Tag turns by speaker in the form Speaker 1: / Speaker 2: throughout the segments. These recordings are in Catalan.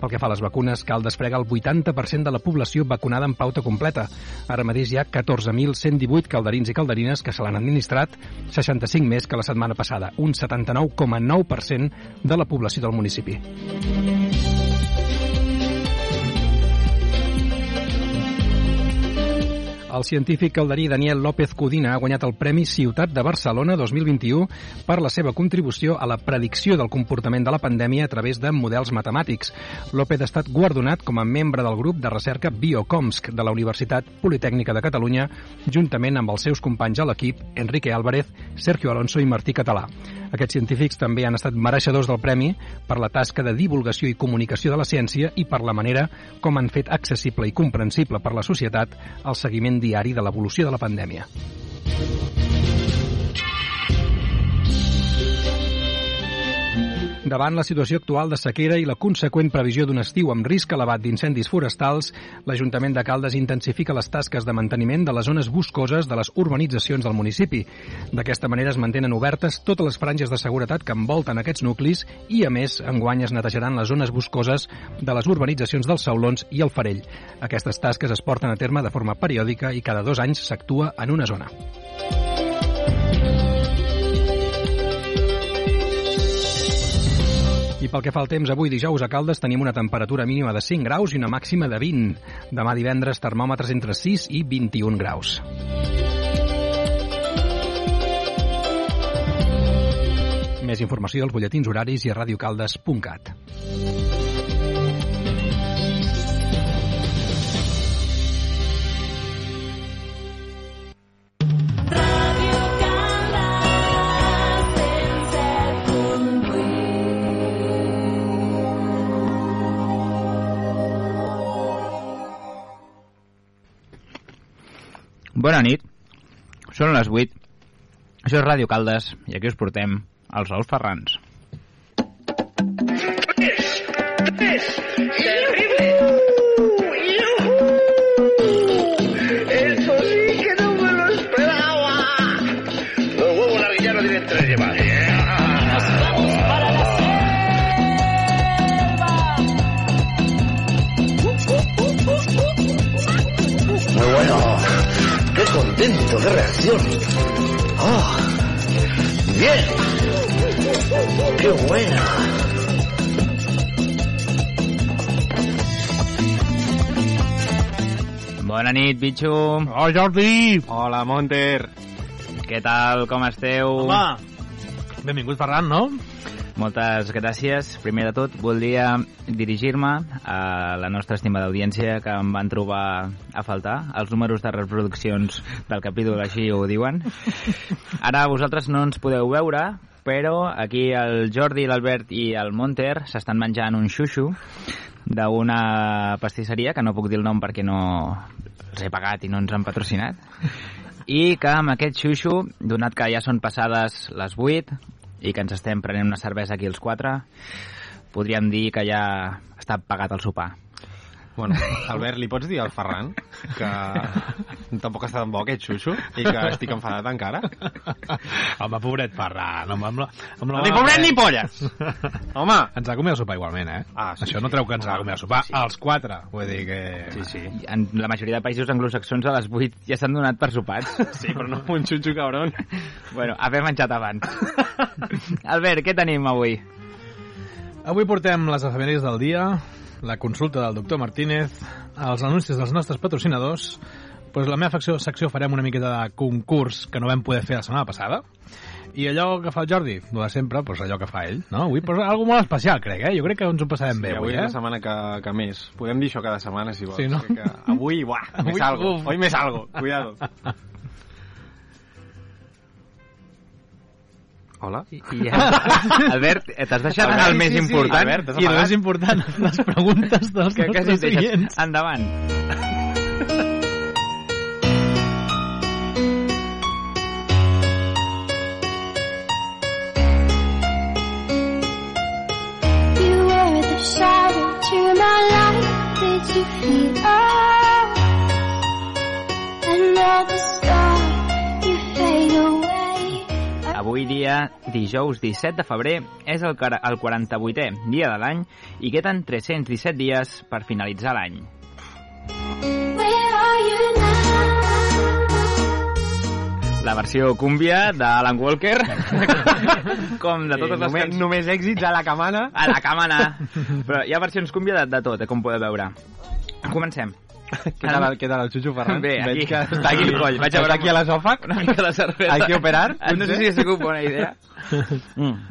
Speaker 1: Pel que fa a les vacunes, cal despregar el 80% de la població vacunada en pauta completa. Ara mateix hi ha 14.118 calderins i calderines que se l'han administrat, 65 més que la setmana passada, un 79,9% de la població del municipi. El científic calderí Daniel López Codina ha guanyat el Premi Ciutat de Barcelona 2021 per la seva contribució a la predicció del comportament de la pandèmia a través de models matemàtics. López ha estat guardonat com a membre del grup de recerca Biocomsc de la Universitat Politècnica de Catalunya, juntament amb els seus companys a l'equip Enrique Álvarez, Sergio Alonso i Martí Català. Aquests científics també han estat mereixedors del premi per la tasca de divulgació i comunicació de la ciència i per la manera com han fet accessible i comprensible per la societat el seguiment diari de l'evolució de la pandèmia. Davant la situació actual de sequera i la conseqüent previsió d'un estiu amb risc elevat d'incendis forestals, l'Ajuntament de Caldes intensifica les tasques de manteniment de les zones boscoses de les urbanitzacions del municipi. D'aquesta manera es mantenen obertes totes les franges de seguretat que envolten aquests nuclis i, a més, enguany es netejaran les zones boscoses de les urbanitzacions dels Saulons i el Farell. Aquestes tasques es porten a terme de forma periòdica i cada dos anys s'actua en una zona. I pel que fa al temps, avui dijous a Caldes tenim una temperatura mínima de 5 graus i una màxima de 20. Demà divendres termòmetres entre 6 i 21 graus. Més informació als butlletins horaris i a radiocaldes.cat.
Speaker 2: Bona nit. Són les 8. Això és Ràdio Caldes i aquí us portem els ous ferrans.
Speaker 3: ¡Es terrible! ¡Yujú! ¡Eso sí que no me lo esperaba! Los huevos la villana tienen tres yemas. Muy bueno. Qué contento, qué reacción. ¡Oh! ¡Bien! ¡Qué buena!
Speaker 2: Bona nit, bitxo.
Speaker 4: Hola, Oh, Jordi!
Speaker 5: Hola, Monter.
Speaker 2: Què tal, com esteu?
Speaker 4: Home, benvingut, Ferran, no?
Speaker 2: Moltes gràcies. Primer de tot, volia dirigir-me a la nostra estimada audiència que em van trobar a faltar. Els números de reproduccions del capítol així ho diuen. Ara vosaltres no ens podeu veure, però aquí el Jordi, l'Albert i el Monter s'estan menjant un xuxu d'una pastisseria, que no puc dir el nom perquè no els he pagat i no ens han patrocinat, i que amb aquest xuxu, donat que ja són passades les 8 i que ens estem prenent una cervesa aquí els 4, podríem dir que ja està pagat el sopar.
Speaker 5: Bueno, Albert, li pots dir al Ferran que tampoc està tan bo aquest xuxo i que estic enfadat encara?
Speaker 4: Home, pobret Ferran, home, amb la... Amb la
Speaker 5: Ni pobret ni polles! Home!
Speaker 4: Ens ha comit el sopar igualment, eh?
Speaker 5: Ah, sí,
Speaker 4: Això no treu que ens ha comit el sopar.
Speaker 5: Sí.
Speaker 4: Els quatre, vull dir que...
Speaker 5: Sí, sí.
Speaker 2: Ah. En la majoria de països anglosaxons a les 8 ja s'han donat per sopats.
Speaker 5: Sí, però no un xutxo cabron.
Speaker 2: Bueno, haver menjat abans. Albert, què tenim avui?
Speaker 4: Avui portem les efemèries del dia, la consulta del doctor Martínez, els anuncis dels nostres patrocinadors, doncs la meva facció, secció farem una miqueta de concurs que no vam poder fer la setmana passada, i allò que fa el Jordi, el de sempre, doncs allò que fa ell, no? Avui, doncs, algo molt especial, crec, eh? Jo crec que ens ho passarem bé,
Speaker 5: avui
Speaker 4: avui,
Speaker 5: és la
Speaker 4: eh?
Speaker 5: setmana que, que més. Podem dir això cada setmana, si vols.
Speaker 4: Sí, no?
Speaker 5: que avui, buah, avui,
Speaker 4: Avui,
Speaker 5: més algo.
Speaker 4: uf.
Speaker 5: Hoy més algo. Cuidado. Hola?
Speaker 2: I ja... Albert, eh, t'has deixat
Speaker 5: Albert,
Speaker 2: el
Speaker 5: sí,
Speaker 2: més
Speaker 5: sí, sí.
Speaker 2: important.
Speaker 5: Albert, t'has
Speaker 4: I el
Speaker 5: amagat?
Speaker 4: més important, les preguntes dels
Speaker 2: que quasi
Speaker 4: nostres
Speaker 2: et deixes.
Speaker 4: clients.
Speaker 2: Endavant.
Speaker 6: You were the shadow to my life. Did you Oh, feel us? Another star, you fade away.
Speaker 2: Avui avui dia, dijous 17 de febrer, és el, cara- el 48è dia de l'any i queden 317 dies per finalitzar l'any.
Speaker 6: Where are you now?
Speaker 2: La versió cúmbia d'Alan Walker, com de totes les
Speaker 5: només,
Speaker 2: cançons.
Speaker 5: només èxits a la camana.
Speaker 2: A la camana! Però hi ha versions cúmbia de, de tot, eh, com podeu veure. Comencem.
Speaker 5: Què tal, el- què tal el Xuxu Ferran?
Speaker 2: Bé, aquí,
Speaker 5: Veig que
Speaker 2: està aquí el coll. Vaig a veure
Speaker 5: aquí a l'esòfag.
Speaker 2: Una mica de cervesa.
Speaker 5: Hay que operar,
Speaker 2: No sé
Speaker 5: potser?
Speaker 2: si ha sigut bona idea. Mm.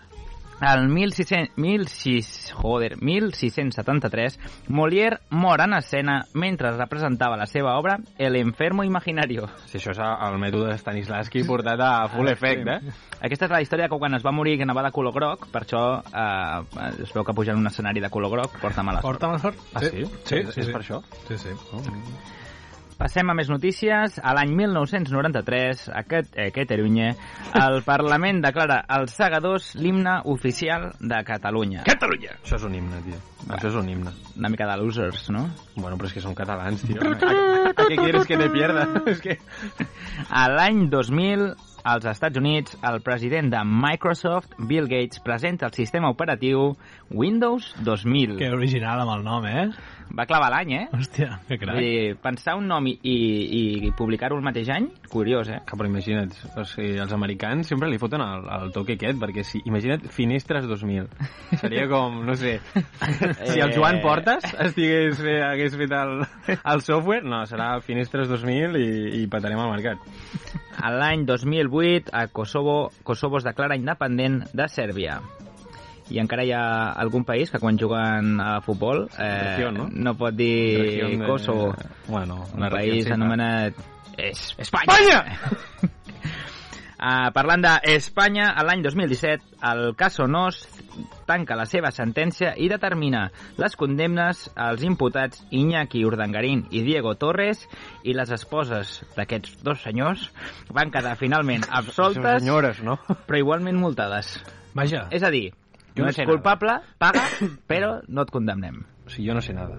Speaker 2: El 1600, 1600, joder, 1673, Molière mor en escena mentre representava la seva obra El enfermo imaginario. Ah,
Speaker 5: Si això és el mètode de Stanislavski portat a full effect, eh?
Speaker 2: Aquesta és la història que quan es va morir que anava de color groc, per això eh, es veu que pujar en un escenari de color groc porta mala sort.
Speaker 4: Porta mala sort.
Speaker 5: Ah, sí?
Speaker 4: Sí,
Speaker 5: És-
Speaker 4: sí,
Speaker 5: és
Speaker 4: sí.
Speaker 5: per això?
Speaker 4: Sí, sí.
Speaker 2: Passem a més notícies. A l'any 1993, a, Cat a Catalunya, el Parlament declara els segadors l'himne oficial de Catalunya.
Speaker 5: Catalunya! Això és un himne, tio. Això és un himne.
Speaker 2: Una mica de losers, no?
Speaker 5: Bueno, però és que són catalans, tio. ¿A, a què quieres que te pierda? És que...
Speaker 2: A l'any 2000, als Estats Units, el president de Microsoft, Bill Gates, presenta el sistema operatiu Windows 2000.
Speaker 4: Que original amb el nom, eh?
Speaker 2: Va clavar l'any, eh?
Speaker 5: Ah,
Speaker 4: Hòstia, que
Speaker 2: Vull
Speaker 4: crac. Sí.
Speaker 2: dir, pensar un nom i, i, i publicar-ho el mateix any, curiós, eh?
Speaker 5: Que, però imagina't, o sigui, els americans sempre li foten el, el toque aquest, perquè si, imagina't Finestres 2000. Seria com, no sé, si el
Speaker 2: Eh.
Speaker 5: Joan Portes estigués, fe, hagués fet el, el software, no, serà Finestres 2000 i, i patarem al mercat.
Speaker 2: A l'any 2008, a Kosovo, Kosovo es declara independent de Sèrbia. I encara hi ha algun país que quan juguen a futbol eh,
Speaker 5: Región, no?
Speaker 2: no pot dir
Speaker 5: Región de-
Speaker 2: Kosovo.
Speaker 5: eh, Bueno,
Speaker 2: un
Speaker 5: una regió,
Speaker 2: país
Speaker 5: sí,
Speaker 2: anomenat es Espanya. Uh, parlant d'Espanya, a l'any 2017, el Caso Nos tanca la seva sentència i determina les condemnes als imputats Iñaki Urdangarín i Diego Torres i les esposes d'aquests dos senyors van quedar finalment absoltes,
Speaker 5: Senyores, no?
Speaker 2: però igualment multades.
Speaker 4: Vaja.
Speaker 2: És a dir,
Speaker 5: Jo
Speaker 2: no
Speaker 5: no
Speaker 2: ets
Speaker 5: sé nada.
Speaker 2: culpable, paga, però no et condemnem.
Speaker 5: O sigui, jo no sé nada.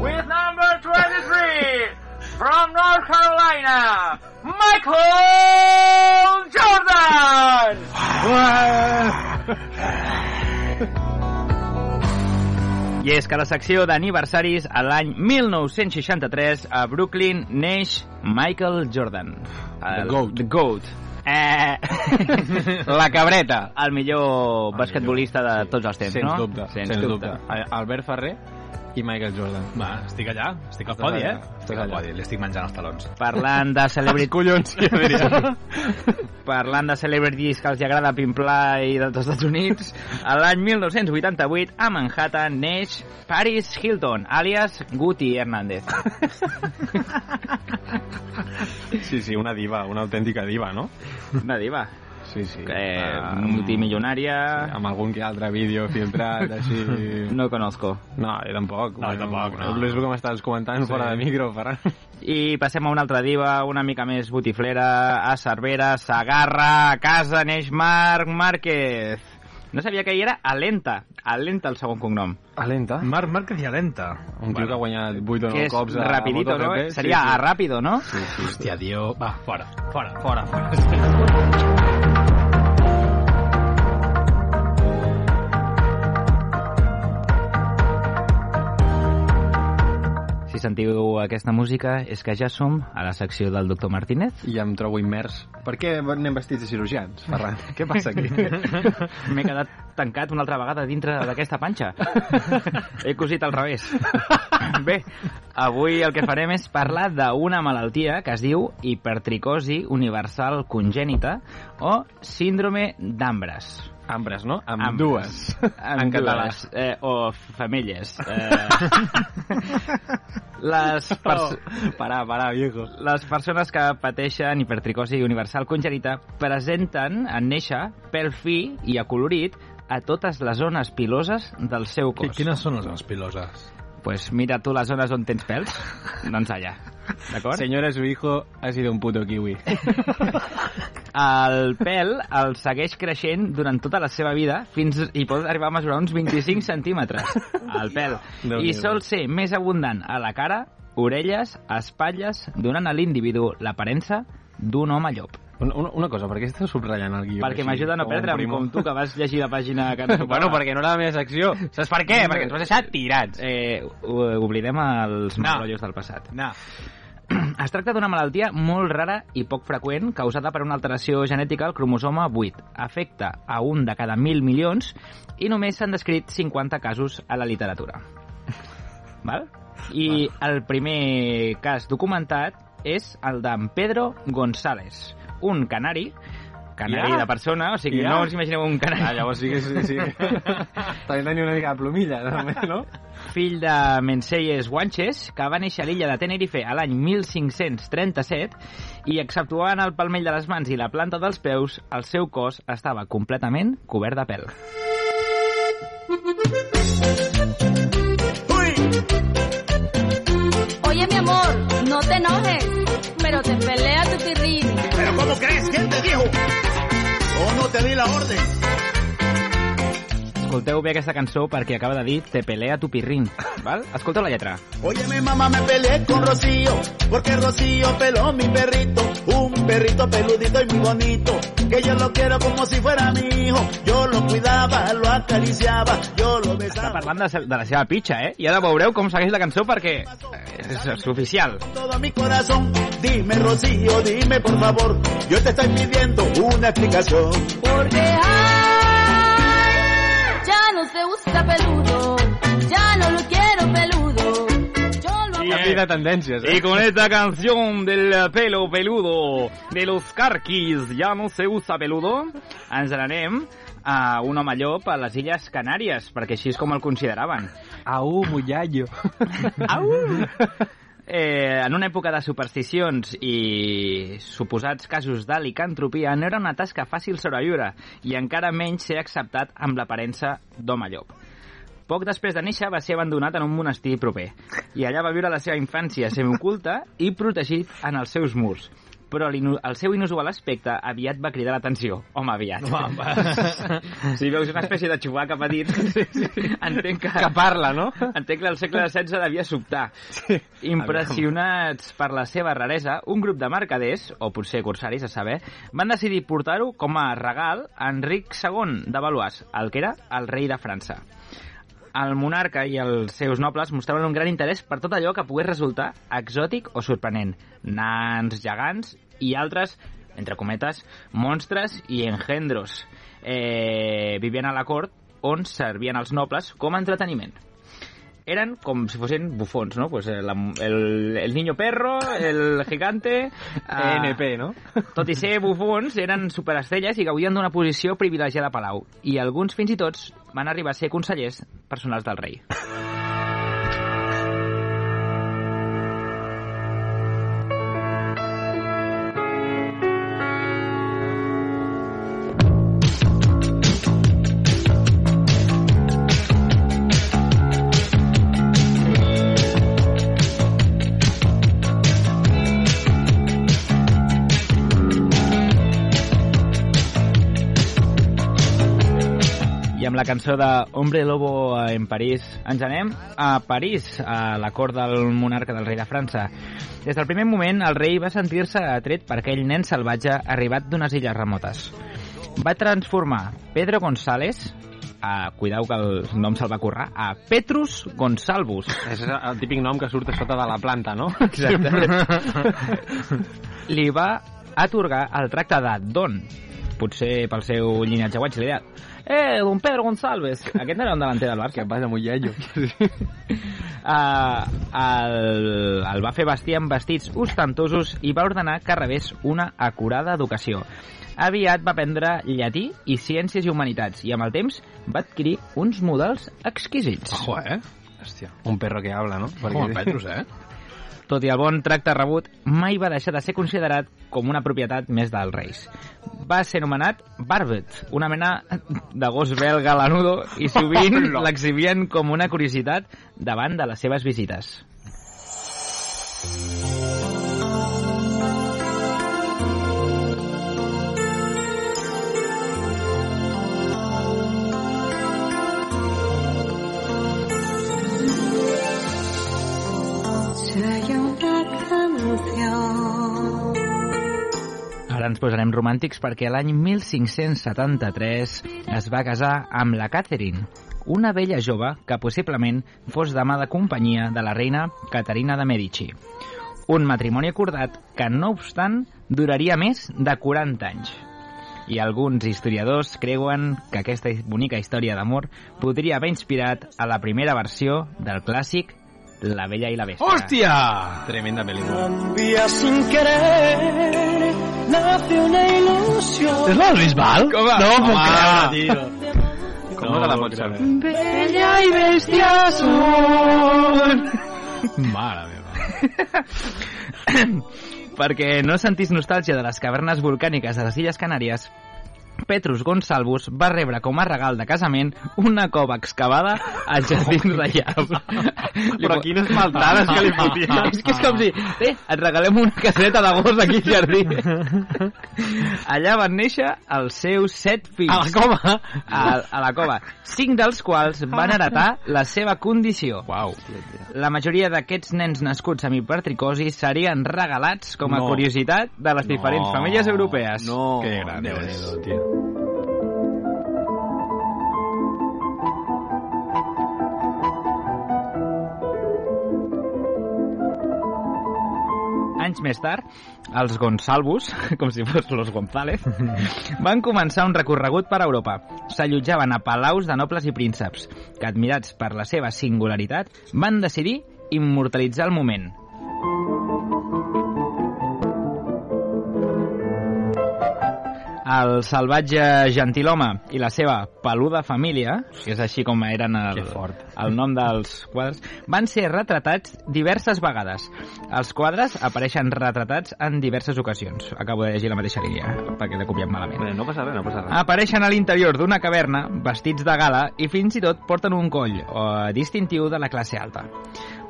Speaker 2: With number 23, from North Carolina, Michael Jordan!
Speaker 5: Ah!
Speaker 2: I és que a la secció d'aniversaris, a l'any 1963, a Brooklyn, neix Michael Jordan. El,
Speaker 5: The GOAT.
Speaker 2: The GOAT. Eh... la cabreta. El millor basquetbolista de
Speaker 5: Sí.
Speaker 2: tots els temps,
Speaker 5: sens
Speaker 2: no?
Speaker 5: Dubte, sens, dubte. A- Albert Ferrer i Michael Jordan.
Speaker 4: Va, estic allà, estic al
Speaker 5: Estàs
Speaker 4: podi, eh?
Speaker 5: allà, estàs
Speaker 4: Estic al
Speaker 5: allà.
Speaker 4: podi, li estic menjant els talons.
Speaker 2: Parlant de celebrity... collons! Parlant de celebrities que els agrada pimplar i dels Estats Units, a l'any 1988, a Manhattan, neix Paris Hilton, alias Guti Hernández.
Speaker 5: Sí, sí, una diva, una autèntica diva, no?
Speaker 2: Una diva.
Speaker 5: Sí, sí.
Speaker 2: Eh,
Speaker 5: Ah,
Speaker 2: multimilionària...
Speaker 5: Eh, amb algun que altre vídeo filtrat, així...
Speaker 2: No conozco.
Speaker 5: No, jo tampoc.
Speaker 4: No, jo tampoc, no.
Speaker 5: És el que m'estaves comentant sí. fora de micro, Ferran.
Speaker 2: I passem a una altra diva, una mica més botiflera, a Cervera, Sagarra, a casa, neix Marc Márquez. No sabia que hi era Alenta. Alenta, el segon cognom.
Speaker 5: Alenta.
Speaker 4: Marc Márquez i Alenta.
Speaker 5: Un tio que ha guanyat
Speaker 2: Ah,
Speaker 5: 8 o
Speaker 2: que
Speaker 5: 9
Speaker 2: és
Speaker 5: cops a
Speaker 2: rapidito, no?
Speaker 5: MotoGP. Sí,
Speaker 2: Seria
Speaker 5: sí.
Speaker 2: a ràpido, no? Sí.
Speaker 4: Hòstia, tio. Va, fora, fora, fora, fora.
Speaker 2: Si sentiu aquesta música és que ja som a la secció del doctor Martínez.
Speaker 5: I em trobo immers. Per què anem vestits de cirurgians, Ferran? què passa aquí?
Speaker 2: M'he quedat tancat una altra vegada dintre d'aquesta panxa. He cosit al revés. Bé, avui el que farem és parlar d'una malaltia que es diu hipertricosi universal congènita o síndrome d'ambres.
Speaker 5: Ambres, no? Amb,
Speaker 2: Ambres.
Speaker 5: dues. en català.
Speaker 2: dues, Eh, o femelles. Eh, les pers-
Speaker 5: Oh. Parà, parà, viejo.
Speaker 2: les persones que pateixen hipertricosi universal congènita presenten en néixer pèl fi i acolorit a totes les zones piloses del seu
Speaker 4: Qui-
Speaker 2: cos.
Speaker 4: Quines són les zones piloses?
Speaker 2: Pues mira tu les zones on tens pèls, doncs allà. D'acord?
Speaker 5: Senyora, su hijo ha sido un puto kiwi.
Speaker 2: el pèl el segueix creixent durant tota la seva vida fins i pot arribar a mesurar uns 25 centímetres, el pèl.
Speaker 5: Déu
Speaker 2: I
Speaker 5: n'hi do.
Speaker 2: sol ser més abundant a la cara, orelles, espatlles, donant a l'individu l'aparença d'un home llop.
Speaker 5: Una, una- una cosa, per què estàs subratllant el guió?
Speaker 2: perquè
Speaker 5: així,
Speaker 2: m'ajuda a no
Speaker 5: com un
Speaker 2: perdre'm,
Speaker 5: primo?
Speaker 2: com tu, que vas llegir la pàgina que ens
Speaker 5: Bueno, perquè no era la meva secció. Saps per
Speaker 2: No.
Speaker 5: què? Perquè ens ho has deixat tirats.
Speaker 2: Eh, ho- oblidem els malollos del passat.
Speaker 4: No.
Speaker 2: Es tracta d'una malaltia molt rara i poc freqüent causada per una alteració genètica al cromosoma 8. Afecta a un de cada mil milions i només s'han descrit 50 casos a la literatura. Val? I el primer cas documentat és el d'en Pedro González, un canari, canari
Speaker 5: Ja.
Speaker 2: de persona, o sigui,
Speaker 5: Ja.
Speaker 2: no us imagineu un canari.
Speaker 5: Ah, llavors sí que... Sí, sí. També tenia una mica de plomilla, no?
Speaker 2: fill de Mencelles Guanches, que va néixer a l'illa de Tenerife a l'any 1537 i, exceptuant el palmell de les mans i la planta dels peus, el seu cos estava completament cobert de pèl.
Speaker 7: Oye, mi amor, no te enojes, pero te pelea tu pirrini.
Speaker 8: ¿Pero cómo crees? ¿Quién te dijo? ¿O no te di la orden?
Speaker 2: Escolteu bé aquesta cançó perquè acaba de dir Te pelea tu pirrín, val? Escolteu la lletra.
Speaker 8: Oye, mi mamá me peleé con Rocío, porque Rocío peló mi perrito, un perrito peludito y muy bonito, que yo lo quiero como si fuera mi hijo. Yo lo cuidaba, lo acariciaba, yo lo
Speaker 2: Està
Speaker 8: besaba.
Speaker 2: parlant de, se- de la seva pitxa, eh? I ara veureu com segueix la cançó perquè eh, és, és oficial.
Speaker 8: Todo mi corazón, dime Rocío, dime por favor, yo te estoy pidiendo una explicación.
Speaker 7: Porque ay, ya no te gusta peludo, ya no lo quiero peludo. Yo lo amo.
Speaker 5: Canvi de tendències, eh?
Speaker 2: Y con esta canción del pelo peludo de los carquis ya no se usa peludo, ens n'anem a un home llop a les Illes Canàries, perquè així és com el consideraven.
Speaker 5: Au, mullallo.
Speaker 2: Au! Eh, en una època de supersticions i suposats casos de licantropia no era una tasca fàcil sobreviure i encara menys ser acceptat amb l'aparença d'home llop. Poc després de néixer va ser abandonat en un monestir proper i allà va viure la seva infància semioculta i protegit en els seus murs. Però l'inu- el seu inusual aspecte aviat va cridar l'atenció. Home, aviat. si veus una espècie de xubaca petit, entenc que...
Speaker 5: Que parla, no?
Speaker 2: Entenc que el segle XVI devia sobtar. Impressionats per la seva raresa, un grup de mercaders, o potser corsaris, a saber, van decidir portar-ho com a regal a Enric II de Valois, el que era el rei de França. El monarca i els seus nobles mostraven un gran interès per tot allò que pogués resultar exòtic o sorprenent. Nans, gegants i altres, entre cometes, monstres i engendros. Eh, vivien a la cort on servien els nobles com a entreteniment eran como si fuesen bufons, ¿no? Pues el, el- el niño perro, el gigante... ah,
Speaker 5: NP, no?
Speaker 2: Tot i ser bufons, eren superestrelles i gaudien d'una posició privilegiada a Palau. I alguns, fins i tots, van arribar a ser consellers personals del rei. I amb la cançó de Hombre Lobo en París ens anem a París, a la cort del monarca del rei de França. Des del primer moment, el rei va sentir-se atret per aquell nen salvatge arribat d'unes illes remotes. Va transformar Pedro González a, cuidau que el nom se'l va currar, a Petrus Gonsalvus.
Speaker 5: És el típic nom que surt a sota de la planta, no?
Speaker 2: Exacte. Li va atorgar el tracte de Don, potser pel seu llinatge guatx, li deia, eh, don Pedro González, aquest no era un delanter del Barça.
Speaker 5: Què passa, mullallo?
Speaker 2: Uh, el, el va fer vestir amb vestits ostentosos i va ordenar que rebés una acurada educació. Aviat va aprendre llatí i ciències i humanitats i amb el temps va adquirir uns models exquisits.
Speaker 4: Ojo, eh?
Speaker 5: Hòstia, un perro que habla, no?
Speaker 4: Com el Petrus, eh?
Speaker 2: Tot i el bon tracte rebut, mai va deixar de ser considerat com una propietat més dels reis. Va ser nomenat Barbet, una mena de gos belga lanudo, i sovint l'exhibien com una curiositat davant de les seves visites. ara ens posarem romàntics perquè l'any 1573 es va casar amb la Catherine, una vella jove que possiblement fos dama de companyia de la reina Caterina de Medici. Un matrimoni acordat que, no obstant, duraria més de 40 anys. I alguns historiadors creuen que aquesta bonica història d'amor podria haver inspirat a la primera versió del clàssic La Bella i la Bestia.
Speaker 4: ¡Hostia!
Speaker 5: "Ah, Tremenda película.
Speaker 8: sin querer, nace una ilusión.
Speaker 4: ¿Es la de Luis Val?
Speaker 5: Com va?
Speaker 4: No ho puc
Speaker 5: Home,
Speaker 4: creure.
Speaker 5: Com no, te la pots saber?
Speaker 8: Bella y bestia
Speaker 4: Mare meva.
Speaker 2: Perquè no sentís nostàlgia de les cavernes volcàniques de les Illes Canàries, Petrus Gonsalvus va rebre com a regal de casament una cova excavada als Jardins Reials.
Speaker 5: Però quines maltades que li fotia.
Speaker 2: És que és com si, eh, et regalem una caseta de gos aquí al jardí. Allà van néixer els seus set fills.
Speaker 4: A la cova.
Speaker 2: A, a la cova. Cinc dels quals van heretar la seva condició.
Speaker 4: Uau.
Speaker 2: La majoria d'aquests nens nascuts amb hipertricosi serien regalats com a
Speaker 5: No.
Speaker 2: curiositat de les diferents famílies europees.
Speaker 5: No.
Speaker 4: Que gran és.
Speaker 5: Déu-n'hi-do, tio.
Speaker 2: Anys més tard, els Gonsalvos, com si fos los González, van començar un recorregut per Europa. S'allotjaven a palaus de nobles i prínceps, que admirats per la seva singularitat, van decidir immortalitzar el moment. El salvatge gentilhome i la seva peluda família, que és així com eren el,
Speaker 5: Que fort.
Speaker 2: el nom dels quadres, van ser retratats diverses vegades. Els quadres apareixen retratats en diverses ocasions. Acabo de llegir la mateixa línia, perquè l'he copiat malament.
Speaker 5: Bé, No passa res, no passa res.
Speaker 2: Apareixen a l'interior d'una caverna, vestits de gala i fins i tot porten un coll, eh, distintiu de la classe alta.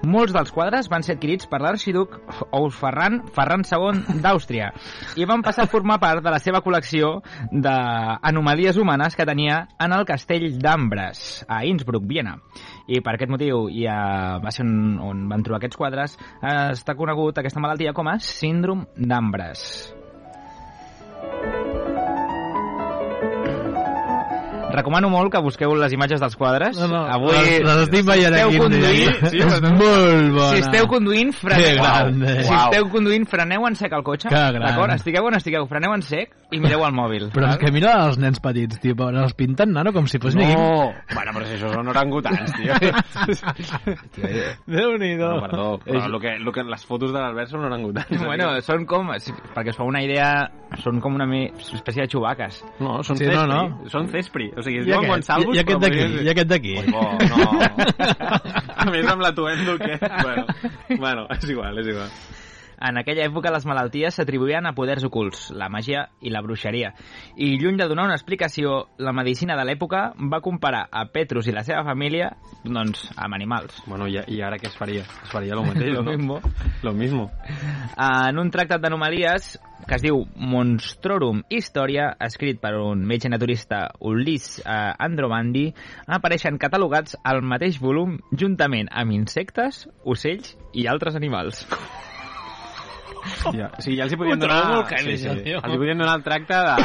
Speaker 2: Molts dels quadres van ser adquirits per l'arxiduc Ous Ferran, Ferran II d'Àustria, i van passar a formar part de la seva col·lecció d'anomalies humanes que tenia en el castell d'Ambres, a Innsbruck, Viena. I per aquest motiu i a, va ser on, on van trobar aquests quadres, eh, està conegut aquesta malaltia com a síndrome d'Ambres. Recomano molt que busqueu les imatges dels quadres.
Speaker 4: No, no,
Speaker 2: Avui,
Speaker 4: les, les estic
Speaker 2: si
Speaker 4: veient
Speaker 2: esteu
Speaker 4: aquí.
Speaker 2: conduint,
Speaker 4: Sí, és molt bona.
Speaker 2: si esteu conduint,
Speaker 4: Que
Speaker 2: freneu.
Speaker 4: grande.
Speaker 2: Si
Speaker 4: Uau.
Speaker 2: esteu conduint, freneu en sec el cotxe.
Speaker 4: Que gran.
Speaker 2: D'acord? Estigueu on estigueu, freneu en sec i mireu el mòbil.
Speaker 4: Però és
Speaker 2: val?
Speaker 4: que mira els nens petits, tio, pobres, els pinten nano com si fos
Speaker 5: No.
Speaker 4: Guim.
Speaker 5: Bueno, però si això són orangutans, tio.
Speaker 4: Déu-n'hi-do.
Speaker 5: No, eh. perdó, però lo que, lo que les fotos de l'Albert són orangutans.
Speaker 2: Bueno, són com... si- Perquè us fa una idea, són com una mi- espècie de xubaques.
Speaker 5: No, són
Speaker 4: Sí,
Speaker 5: cespri.
Speaker 4: no, no.
Speaker 5: Són cespri. O sigui, es
Speaker 4: I
Speaker 5: diuen
Speaker 4: aquest,
Speaker 5: Gonsalvos,
Speaker 4: i, i aquest
Speaker 5: però
Speaker 4: d'aquí,
Speaker 5: podria ser-
Speaker 4: i aquest d'aquí.
Speaker 5: Ui, bo, no. A més, amb l'atuendo que... Bueno, bueno, és igual, és igual.
Speaker 2: En aquella època les malalties s'atribuïen a poders ocults, la màgia i la bruixeria. I lluny de donar una explicació, la medicina de l'època va comparar a Petrus i la seva família, doncs, amb animals.
Speaker 5: Bueno, i, i ara què es faria? Es faria lo mateix,
Speaker 2: Lo
Speaker 5: no?
Speaker 2: mismo.
Speaker 5: Lo mismo.
Speaker 2: En un tractat d'anomalies que es diu Monstrorum Historia, escrit per un metge naturista Ulis eh, Andromandi, apareixen catalogats al mateix volum juntament amb insectes, ocells i altres animals.
Speaker 5: Ja, o sigui, ja els hi podien
Speaker 4: Un
Speaker 5: donar...
Speaker 4: trobo que és això, tio.
Speaker 5: Els hi podien donar el tracte de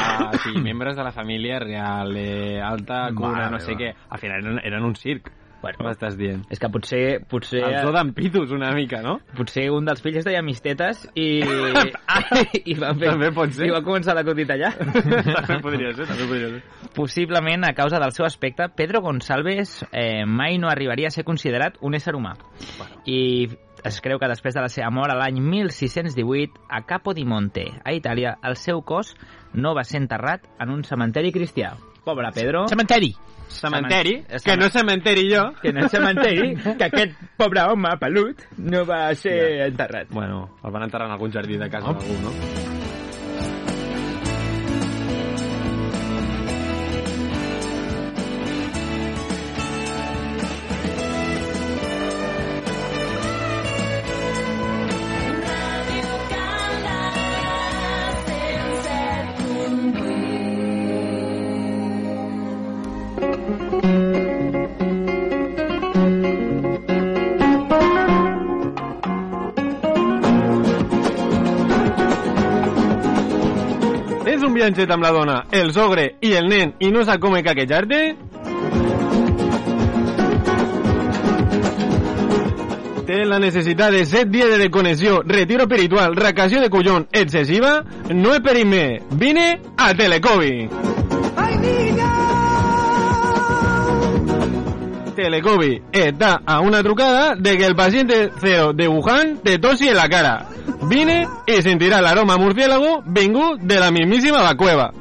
Speaker 5: sí, membres de la família real, eh, alta cuna,
Speaker 4: Mare
Speaker 5: no sé
Speaker 4: meva.
Speaker 5: què. Al final eren, eren un circ,
Speaker 2: Bueno,
Speaker 5: m'estàs dient.
Speaker 2: és que potser... potser
Speaker 5: El zoo d'ampitos, una mica, no?
Speaker 2: Potser un dels fills es deia Mistetes i... i va fer...
Speaker 5: També pot ser.
Speaker 2: I va començar la cotita allà.
Speaker 5: també podria ser, també podria ser.
Speaker 2: Possiblement, a causa del seu aspecte, Pedro Gonsalves eh, mai no arribaria a ser considerat un ésser humà. I es creu que després de la seva mort a l'any 1618, a Capodimonte, a Itàlia, el seu cos no va ser enterrat en un cementeri cristià. Pobre Pedro,
Speaker 4: Cementeri.
Speaker 5: Cementeri,
Speaker 2: Cemen-
Speaker 5: que no cementeri jo.
Speaker 2: que en el cementeri, que aquest pobre home pelut no va ser enterrat.
Speaker 5: Bueno, el van enterrar en algun jardí de casa d'algú, no? un viatget amb la dona, el sogre i el nen i no sap com caquejar-te? Té la necessitat de 7 dies de desconnexió, retiro espiritual, recasió de collon excessiva? No és perill més. Vine a Telecovi. Telecovi está eh, a una trucada de que el paciente cero de Wuhan te tosi en la cara. Vine y sentirá el aroma murciélago vengú de la mismísima vacueva.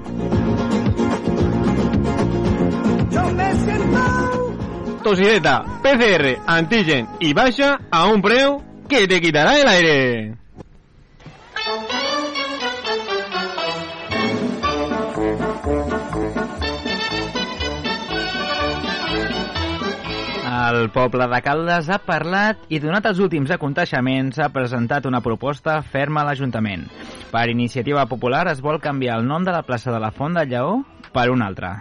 Speaker 5: Tosideta, PCR, antigen y vaya a un preu que te quitará el aire.
Speaker 2: El poble de Caldes ha parlat i, donat els últims aconteixements, ha presentat una proposta ferma a l'Ajuntament. Per iniciativa popular es vol canviar el nom de la plaça de la Font del Lleó per un altre.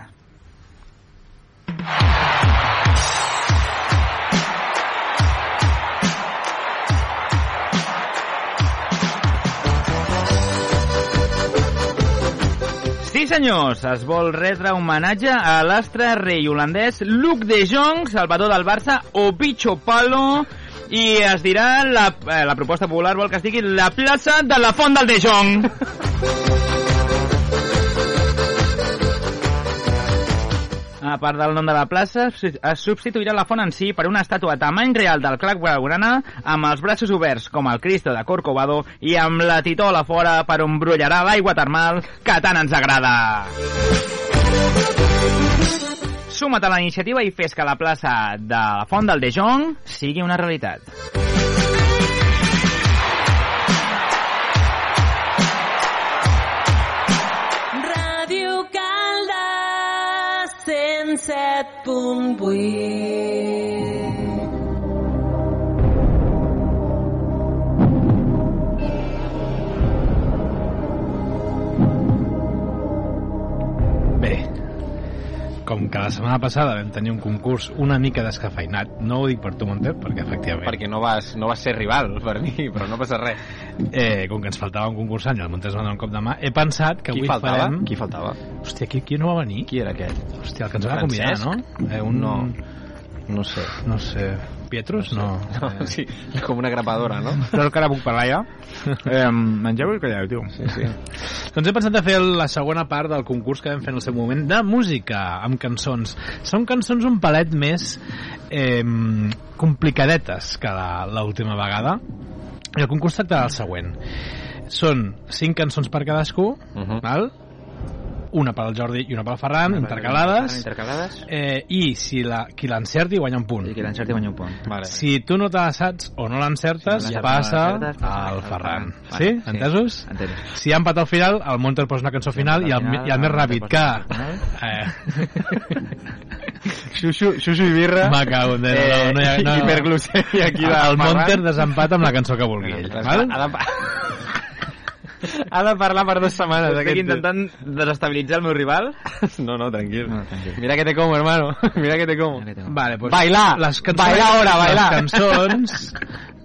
Speaker 2: Sí, senyors, es vol retre homenatge a l'astre rei holandès Luc de Jong, salvador del Barça, o Picho Palo, i es dirà, la, eh, la proposta popular vol que es digui la plaça de la Font del de Jong. A part del nom de la plaça, su- es substituirà la font en si per una estàtua a tamany real del Clac Blaugrana amb els braços oberts com el Cristo de Corcovado i amb la titola fora per on brollarà l'aigua termal que tant ens agrada. Suma't a la iniciativa i fes que la plaça de la Font del De Jong sigui una realitat.
Speaker 6: Ràdio Caldes 107.8
Speaker 1: Bé, com que la setmana passada vam tenir un concurs una mica descafeinat, no ho dic per tu, Monter, perquè efectivament...
Speaker 5: Perquè no vas, no vas ser rival per mi, però no passa res.
Speaker 1: Eh, com que ens faltava un concursant i el Montes va donar un cop de mà, he pensat que
Speaker 5: Qui
Speaker 1: avui
Speaker 5: faltava?
Speaker 1: farem...
Speaker 5: Qui faltava?
Speaker 1: Hòstia, qui, qui no va venir?
Speaker 5: Qui era aquest?
Speaker 1: Hòstia, el que ens va convidar,
Speaker 5: Francesc?
Speaker 1: no? Eh, un...
Speaker 5: No. No sé.
Speaker 1: No sé... Pietros? No.
Speaker 5: No, sí, és com una grapadora, no?
Speaker 2: Però que ara puc parlar ja? Eh, mengeu i calleu, tio. Sí, sí.
Speaker 1: Doncs he pensat de fer la segona part del concurs que vam fer en el seu moment de música, amb cançons. Són cançons un palet més eh, complicadetes que la- l'última vegada. I el concurs tracta del següent. Són cinc cançons per cadascú,
Speaker 5: Mhm.
Speaker 1: val? una per al Jordi i una per al Ferran, intercalades,
Speaker 5: Intercalades.
Speaker 1: eh, i si la, qui l'encerti guanya un punt.
Speaker 2: I que l'encerti guanya un punt.
Speaker 5: Vale.
Speaker 1: Si tu no te la saps o no l'encertes,
Speaker 2: Si no l'encertes,
Speaker 1: passa
Speaker 2: no l'encertes, passa
Speaker 1: al
Speaker 2: al
Speaker 1: Ferran.
Speaker 2: eh, Ferran.
Speaker 1: Sí?
Speaker 2: Vale, sí.
Speaker 1: Entesos?
Speaker 2: Entesos.
Speaker 1: Si ha empat al final, el Monter posa una cançó final i el, i el més ràpid que...
Speaker 5: Xuxu, xuxu i birra.
Speaker 1: Me cago en Déu, no, no hi ha- no, no.
Speaker 5: Hiperglucèmia
Speaker 1: Eh,
Speaker 5: aquí de
Speaker 1: el Monter desempat amb la cançó que vulgui ell. Val?
Speaker 5: Ha de, pa- ha de parlar per dues setmanes.
Speaker 2: Estic
Speaker 5: aquest.
Speaker 2: intentant desestabilitzar el meu rival.
Speaker 5: No, no, tranquil.
Speaker 2: No, tranquil.
Speaker 5: Mira que te como, hermano. Mira que te como.
Speaker 1: Vale, doncs pues,
Speaker 5: Bailar!
Speaker 1: les cançons,
Speaker 5: Bailar ahora,
Speaker 1: Les
Speaker 5: bailar!
Speaker 1: cançons...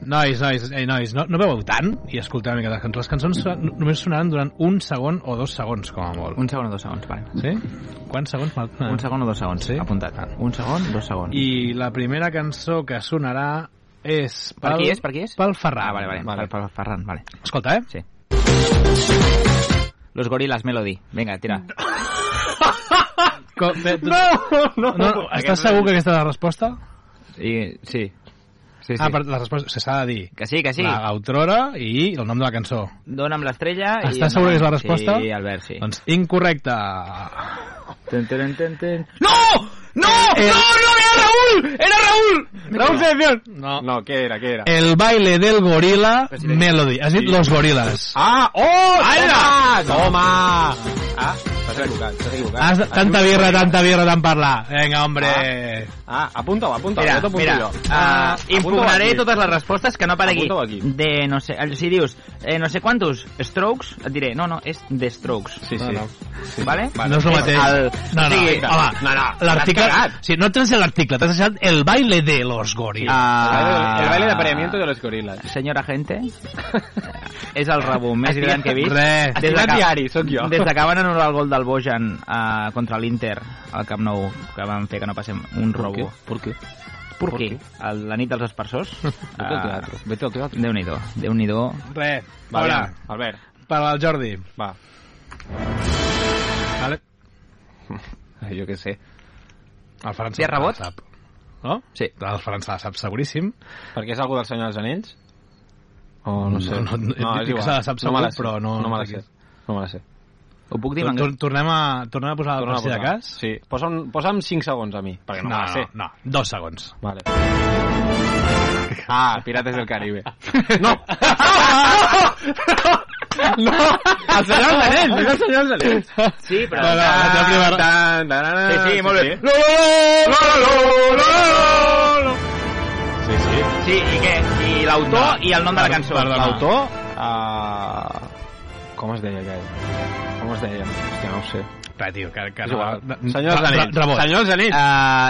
Speaker 1: Nois, nois, ei, nois, no, no beveu tant i escolteu una mica les cançons. Les cançons so- només sonaran durant un segon o dos segons, com a molt.
Speaker 2: Un segon o dos segons, vale.
Speaker 1: Sí? Quants segons? Mal-
Speaker 2: Un segon o dos segons,
Speaker 1: Sí?
Speaker 2: Ah. sí? apuntat.
Speaker 1: Ah.
Speaker 2: Un segon, dos segons.
Speaker 1: I la primera cançó que sonarà és...
Speaker 2: Per qui és? Per qui és?
Speaker 1: Pel Ferran.
Speaker 2: Ah, vale, vale. vale. Per, per Ferran, vale.
Speaker 1: Escolta, eh?
Speaker 2: Sí. Los Gorilas Melody. Vinga, tira.
Speaker 1: Co- bé, tu- no, no, Estàs segur que aquesta és la resposta?
Speaker 2: I, sí. Sí, sí.
Speaker 1: Ah, per, la resposta se s'ha de dir.
Speaker 2: Que sí, que sí.
Speaker 1: La autora i el nom de la cançó.
Speaker 2: Dona'm l'estrella i...
Speaker 1: Estàs segur que és la
Speaker 2: endavant.
Speaker 1: resposta?
Speaker 2: Sí, Albert, sí.
Speaker 1: Doncs incorrecte.
Speaker 2: Ten, ten, ten, ten.
Speaker 1: ¡No! ¡No! ¡No, no!
Speaker 5: Eh,
Speaker 1: ¡Era Raúl! ¡Era Raúl! Eh.
Speaker 5: Raúl Selección.
Speaker 1: No.
Speaker 5: No, ¿qué era? ¿Qué era?
Speaker 1: El baile del gorila
Speaker 2: Però si l'he dit.
Speaker 1: melody. Has dit los gorilas.
Speaker 5: ¡Ah! ¡Oh!
Speaker 1: Ah,
Speaker 5: ¡Toma! ¡Toma! Ah, estás equivocado, estás equivocado.
Speaker 1: Has, tanta birra, tanta birra, tant parlar. Vinga, hombre.
Speaker 5: Ah, apunta-ho, apunta-ho.
Speaker 2: Mira,
Speaker 5: ja t'apunto
Speaker 2: mira,
Speaker 5: jo.
Speaker 2: ah,
Speaker 5: Apunta-ho
Speaker 2: impugnaré
Speaker 5: aquí.
Speaker 2: totes les respostes que no aparegui.
Speaker 5: Apunta-ho aquí.
Speaker 2: De, no sé, si dius, eh, no sé quantos strokes, et diré, no, no, és de strokes.
Speaker 5: Sí, sí.
Speaker 4: No,
Speaker 2: Vale?
Speaker 4: No és el mateix.
Speaker 2: El...
Speaker 4: No, no,
Speaker 2: o sigui,
Speaker 4: home,
Speaker 5: no, no,
Speaker 4: l'article...
Speaker 5: t'has cagat.
Speaker 4: Sí, no et has l'article, t'has deixat el baile de los goris.
Speaker 2: ah,
Speaker 5: El baile de apareamiento de los gorilas.
Speaker 2: Senyora gente, és el rebum més gran que he vist.
Speaker 4: Res.
Speaker 2: Des de
Speaker 5: Estimat
Speaker 2: que-
Speaker 5: diari, sóc jo.
Speaker 2: Des de que van anul·lar el gol del Bojan uh, contra l'Inter al Camp Nou, que van fer que no passem un robo.
Speaker 5: ¿Por qué?
Speaker 2: Per
Speaker 5: Per
Speaker 2: què?
Speaker 5: què?
Speaker 2: El- La nit dels esparsors?
Speaker 5: Vete al teatro. Vete al teatro.
Speaker 2: Déu-n'hi-do, Déu-n'hi-do.
Speaker 4: Re,
Speaker 5: Va,
Speaker 4: Hola,
Speaker 5: aviam, Albert,
Speaker 4: per al Jordi.
Speaker 5: va.
Speaker 4: Vale.
Speaker 5: Ai, Jo què sé.
Speaker 4: El Ferran
Speaker 2: Hi ha rebot?
Speaker 4: sap. No?
Speaker 2: Sí.
Speaker 4: El Ferran se la sap seguríssim.
Speaker 5: Perquè és algú del Senyor dels Anells? O no sé.
Speaker 4: No, no,
Speaker 5: és
Speaker 4: no, dic que
Speaker 5: igual.
Speaker 4: se la sap
Speaker 5: No me la
Speaker 4: segur,
Speaker 5: sé.
Speaker 4: però no-
Speaker 5: No me la
Speaker 4: no sé
Speaker 5: sé. No me la sé.
Speaker 2: Ho puc dir?
Speaker 4: Tor-
Speaker 2: Mangas?
Speaker 4: tor- Tornem a, tornem a posar
Speaker 5: Torna
Speaker 4: la
Speaker 5: a
Speaker 4: si de
Speaker 5: posar.
Speaker 4: cas?
Speaker 5: Sí. Posa'm, posa'm 5 segons a mi, perquè no, no me la sé.
Speaker 4: no, no, dos segons.
Speaker 5: Vale. Ah, Pirates del Caribe. Ah,
Speaker 4: No! no! El senyor
Speaker 2: Ah,
Speaker 4: dels anells! És el senyor dels anells!
Speaker 2: Sí, però...
Speaker 4: No, no. la teva primera-
Speaker 5: Ah, Tan, tan, tan,
Speaker 2: Sí, sí, molt bé.
Speaker 5: Sí, sí. sí.
Speaker 2: Sí, i què? I l'autor i el nom de la Ah. cançó.
Speaker 4: perdona.
Speaker 2: L'autor?
Speaker 5: Uh, com es deia aquell? Com es deia? Hòstia, no ho sé.
Speaker 4: Però, tio, que... que
Speaker 5: És igual.
Speaker 4: re-
Speaker 5: Senyors
Speaker 4: re-
Speaker 5: Anells.
Speaker 4: Rebot.
Speaker 5: Senyors Anells.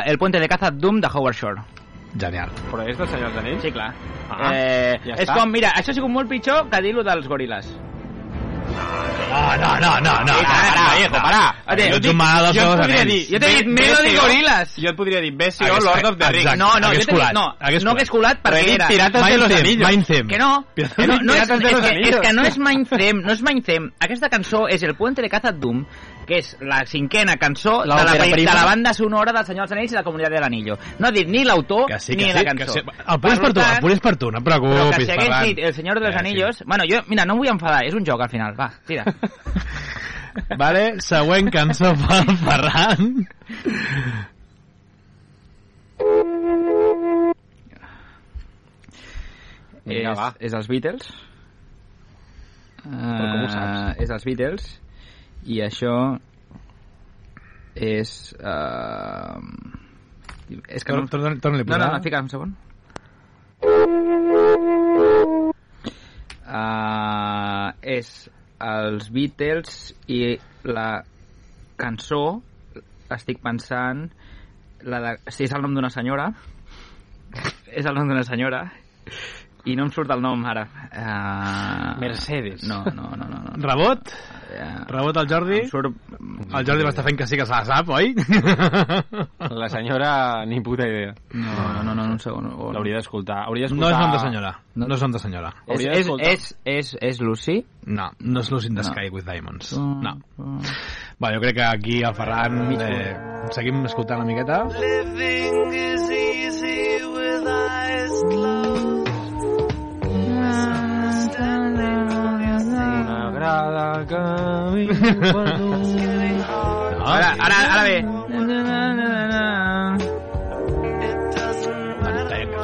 Speaker 2: Uh, el puente de caza Doom de Howard Shore.
Speaker 4: Genial.
Speaker 5: Però és dels Senyors Anells?
Speaker 2: Sí, clar.
Speaker 5: Ah,
Speaker 2: eh,
Speaker 5: ja
Speaker 2: és
Speaker 5: està.
Speaker 2: com, mira, això ha sigut molt pitjor que dir-lo dels goril·les.
Speaker 4: No, no, no, no, no.
Speaker 2: Sí, Ah, parà,
Speaker 4: no,
Speaker 2: viejo,
Speaker 4: no.
Speaker 2: parà.
Speaker 4: Jo
Speaker 2: Jo
Speaker 4: ets
Speaker 2: dic-
Speaker 4: un malalt dels
Speaker 2: jo et
Speaker 4: seus
Speaker 2: podria
Speaker 4: anells.
Speaker 2: dir- jo t'he dit Melody
Speaker 5: BCO.
Speaker 2: Gorillas.
Speaker 5: Jo et podria dir BCO,
Speaker 4: Hagués-
Speaker 5: Lord of the Rings.
Speaker 4: Exacte.
Speaker 2: No, no,
Speaker 4: hagués
Speaker 2: jo t'he dit,
Speaker 4: colat,
Speaker 2: no,
Speaker 4: hagués
Speaker 2: no hagués colat
Speaker 5: Però he
Speaker 2: perquè
Speaker 5: dit
Speaker 2: era...
Speaker 5: Pirates de los Anillos.
Speaker 4: Mindfem.
Speaker 2: Que no,
Speaker 5: Piratas
Speaker 2: que no, no és,
Speaker 5: de los
Speaker 2: és, que,
Speaker 5: Anillos.
Speaker 2: és que no és Mindframe, no és Mindframe. Aquesta cançó és el Puente de Caza Doom, que és la cinquena cançó
Speaker 5: La
Speaker 2: de, la,
Speaker 5: òpera
Speaker 2: pe- de
Speaker 5: prima.
Speaker 2: la banda sonora del Senyor dels Anells i la Comunitat de l'Anillo. No ha dit ni l'autor
Speaker 4: Que sí, que
Speaker 2: ni
Speaker 4: sí,
Speaker 2: la
Speaker 4: que
Speaker 2: cançó.
Speaker 4: sí. El punt és per tu, el punt és per tu, no et preocupis,
Speaker 2: Però que si hagués
Speaker 4: Ferran.
Speaker 2: dit El Senyor dels
Speaker 4: Ja, Eh, sí.
Speaker 2: Anillos... Bueno, jo, mira, no em vull enfadar, és un joc al final, va, tira.
Speaker 4: Vale, següent cançó pel Ferran.
Speaker 5: Vinga,
Speaker 2: és,
Speaker 5: va.
Speaker 2: és els Beatles. Però
Speaker 5: com ho saps?
Speaker 2: és els Beatles. I això és... Uh... És que no...
Speaker 4: Torna-li a
Speaker 2: No,
Speaker 4: posar.
Speaker 2: no, no, fica un segon. Uh, és els Beatles i la cançó, estic pensant, la de, si és el nom d'una senyora, és el nom d'una senyora, i no em surt el nom ara. Uh,
Speaker 5: Mercedes.
Speaker 2: No, no, no. no, no.
Speaker 4: Rebot,
Speaker 2: Uh,
Speaker 4: rebot al Jordi.
Speaker 2: em surt...
Speaker 4: El Jordi va estar fent que sí que se la sap, oi?
Speaker 5: La senyora, ni puta idea.
Speaker 2: No, no, no, no, un segon. o-
Speaker 5: L'hauria d'escoltar. Hauria
Speaker 4: No
Speaker 5: d'escoltar...
Speaker 4: és nom
Speaker 2: Ah.
Speaker 4: de senyora. No és nom de senyora.
Speaker 2: És,
Speaker 5: hauria
Speaker 2: és,
Speaker 5: d'escoltar.
Speaker 2: és, és, és Lucy?
Speaker 4: No, no és Lucy in the
Speaker 2: No.
Speaker 4: Sky with Diamonds. No.
Speaker 2: no.
Speaker 4: Va, jo crec que aquí el Ferran... Eh, seguim escoltant una miqueta.
Speaker 5: M'agrada el camí
Speaker 4: No?
Speaker 2: Ara, ara, ara ve.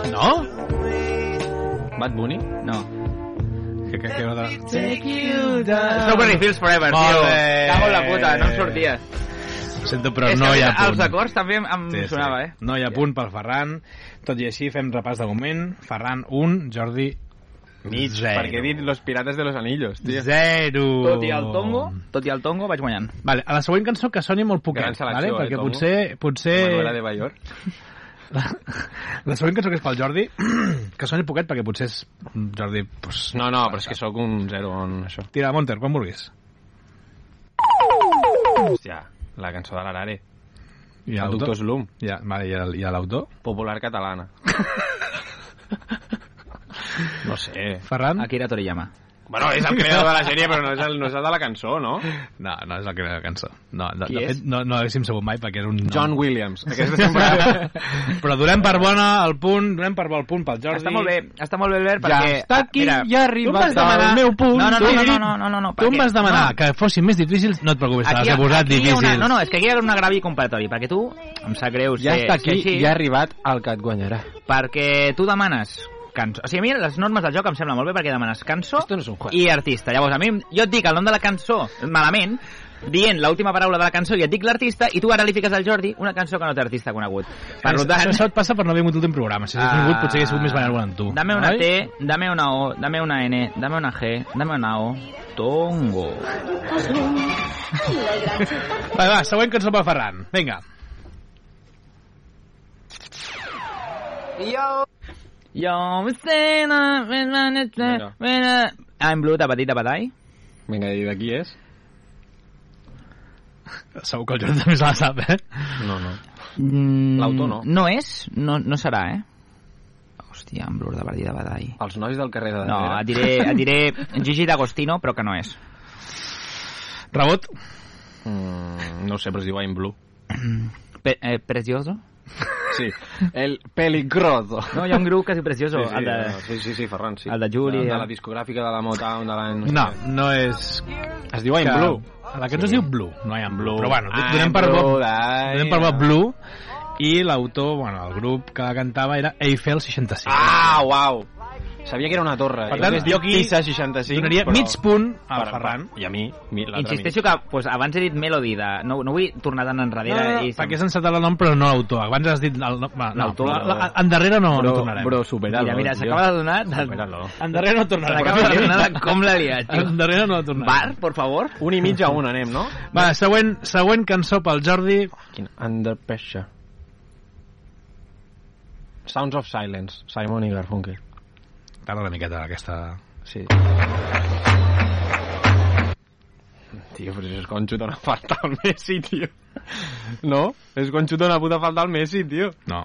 Speaker 4: No?
Speaker 5: Bad Bunny?
Speaker 2: No.
Speaker 4: Que, que, que no te...
Speaker 2: Strawberry Fields Forever,
Speaker 4: Molt
Speaker 2: tio.
Speaker 5: Eh.
Speaker 4: bé.
Speaker 2: Cago en la puta, no em sortia.
Speaker 4: Sento, però
Speaker 2: És
Speaker 4: no
Speaker 2: que
Speaker 4: hi ha punt.
Speaker 2: Els acords també em- em
Speaker 4: Sí, sí.
Speaker 2: sonava, eh?
Speaker 4: No hi ha punt pel Ferran. Tot i així, fem repàs de moment. Ferran, 1, Jordi,
Speaker 5: Mig,
Speaker 4: zero.
Speaker 5: perquè he dit Los Pirates de los Anillos, tio.
Speaker 4: Zero.
Speaker 2: Tot i el tongo, tot i el tongo vaig guanyant.
Speaker 4: Vale, a la següent cançó que soni molt
Speaker 5: Gran
Speaker 4: poquet,
Speaker 5: selecció,
Speaker 4: vale?
Speaker 5: eh,
Speaker 4: perquè
Speaker 5: Tongo?
Speaker 4: potser, potser...
Speaker 5: Manuela de Bayor.
Speaker 4: La, la següent cançó que és pel Jordi, que soni poquet perquè potser és Jordi... Pues,
Speaker 5: No, no, però és que sóc un zero en això.
Speaker 4: Tira, Monter, quan vulguis.
Speaker 5: Hòstia, la cançó de l'Arare.
Speaker 4: I
Speaker 5: El
Speaker 4: l'autor?
Speaker 5: Doctor Slum,
Speaker 4: Ja, vale, i el- i l'autor?
Speaker 5: popular catalana. No sé.
Speaker 4: Ferran?
Speaker 2: Akira Toriyama.
Speaker 5: Bueno, és el creador de la sèrie, però no és el, no és el de la cançó, no?
Speaker 4: No, no és la que la cançó. No, de,
Speaker 2: Qui
Speaker 4: de
Speaker 2: és?
Speaker 4: fet, no, no l'haguéssim sabut mai perquè era un... nom.
Speaker 5: John Williams. Aquesta sempre...
Speaker 4: Però donem per bona el punt, donem per bon punt pel Jordi.
Speaker 2: Està molt bé, està molt bé, Albert,
Speaker 4: Ja
Speaker 2: perquè...
Speaker 4: està aquí,
Speaker 2: mira,
Speaker 4: ja ha arribat
Speaker 2: tu em vas demanar-
Speaker 4: el meu punt.
Speaker 2: No, no,
Speaker 4: Tu
Speaker 2: no,
Speaker 4: he
Speaker 2: no,
Speaker 4: dit-
Speaker 2: no, no, no, no,
Speaker 4: Tu em
Speaker 2: perquè-
Speaker 4: vas demanar
Speaker 2: no.
Speaker 4: que fossin més difícils, no et preocupis, te
Speaker 2: Aquí,
Speaker 4: l'has posat
Speaker 2: aquí hi ha
Speaker 4: difícil.
Speaker 2: una, no, no, és que aquí hi ha una grava i comparatori, perquè tu, em sap greu
Speaker 5: Ja
Speaker 2: ser,
Speaker 5: està aquí,
Speaker 2: ser així,
Speaker 5: ja ha arribat el que et guanyarà.
Speaker 2: perquè tu demanes cançó. O sigui, a mi les normes del joc em sembla molt bé perquè demanes cançó
Speaker 5: Esto no es un juego.
Speaker 2: i artista. Llavors, a mi, jo et dic el nom de la cançó malament, dient l'última paraula de la cançó i et dic l'artista i tu ara li fiques al Jordi una cançó que no té artista conegut. Per tant,
Speaker 4: Això et passa per no haver vingut l'últim programa. Si hagués vingut,
Speaker 2: Ah.
Speaker 4: potser hagués sigut més benevolent amb tu.
Speaker 2: dame una
Speaker 4: Oi?
Speaker 2: T, dame una O, dame una N, dame una G, dame una O, tongo.
Speaker 4: Va, va, següent cançó per Ferran. Vinga.
Speaker 2: Yo sé na- na- na- na- na- na- I'm blue, tapadí, tapadai.
Speaker 5: Vinga, i d'aquí és?
Speaker 4: Segur que el Jordi també se la sap, eh?
Speaker 5: No, no.
Speaker 2: Mm,
Speaker 5: L'autor no.
Speaker 2: No és, no, no serà, eh? Hòstia, amb blur de Bardí de Badai.
Speaker 5: Els nois del carrer de
Speaker 2: No,
Speaker 5: darrere.
Speaker 2: et diré, et diré Gigi D'Agostino, però que no és.
Speaker 4: Rebot.
Speaker 5: Mm, no ho sé, però es diu I'm Blue.
Speaker 2: Pe eh, precioso?
Speaker 5: Sí. El peligroso.
Speaker 2: No, hi ha un grup que es diu Precioso,
Speaker 5: Sí, sí,
Speaker 2: el de...
Speaker 5: no, sí, sí, sí, Ferran, sí.
Speaker 2: El de Juli,
Speaker 5: De, de
Speaker 2: eh?
Speaker 5: la discogràfica de la Motown, de l'any...
Speaker 4: No, no és...
Speaker 5: Es diu I'm
Speaker 4: que-
Speaker 5: Blue.
Speaker 4: La cançó es diu Blue, no hi ha Blue.
Speaker 5: Blue.
Speaker 4: Però bueno,
Speaker 5: Ah,
Speaker 4: donem per
Speaker 5: Blue,
Speaker 4: bo,
Speaker 5: ai,
Speaker 4: donem per bo
Speaker 5: no.
Speaker 4: Blue i l'autor, bueno, el grup que la cantava era Eiffel 65.
Speaker 5: Ah, uau! Sabia que era una torre.
Speaker 4: Per tant,
Speaker 5: hagués dit
Speaker 4: jo aquí
Speaker 5: Pisa 65,
Speaker 4: Donaria
Speaker 5: però-
Speaker 4: mig punt al
Speaker 5: per-
Speaker 4: Ferran.
Speaker 5: per- I a mi, mi l'altre
Speaker 2: Insisteixo que pues, abans he dit Melody, de... no, no vull tornar tant enrere. i...
Speaker 4: perquè has encertat el nom, però no l'autor. Abans has dit el nom... va, No,
Speaker 2: L'autor,
Speaker 4: la- la-
Speaker 2: no.
Speaker 4: Endarrere no,
Speaker 5: amic.
Speaker 4: no
Speaker 5: Bro,
Speaker 4: tornarem.
Speaker 5: bro, supera-lo.
Speaker 2: Mira, mira,
Speaker 5: tio.
Speaker 2: s'acaba de donar...
Speaker 5: Supera-lo.
Speaker 2: De...
Speaker 4: Endarrere no
Speaker 2: S'acaba de
Speaker 4: tornarem.
Speaker 2: donar de com l'ha liat, tio.
Speaker 4: Endarrere no tornarem.
Speaker 2: Bar, por favor.
Speaker 5: Un i mig a un anem, no?
Speaker 4: Va, següent, següent cançó pel Jordi.
Speaker 5: Quin under pressure. Sounds of Silence, Simon i Garfunkel.
Speaker 4: Tarda una miqueta aquesta...
Speaker 5: Sí. Tio, però això és quan xuta una falta al Messi, tio. No? És quan xuta una puta falta al Messi, tio.
Speaker 4: No.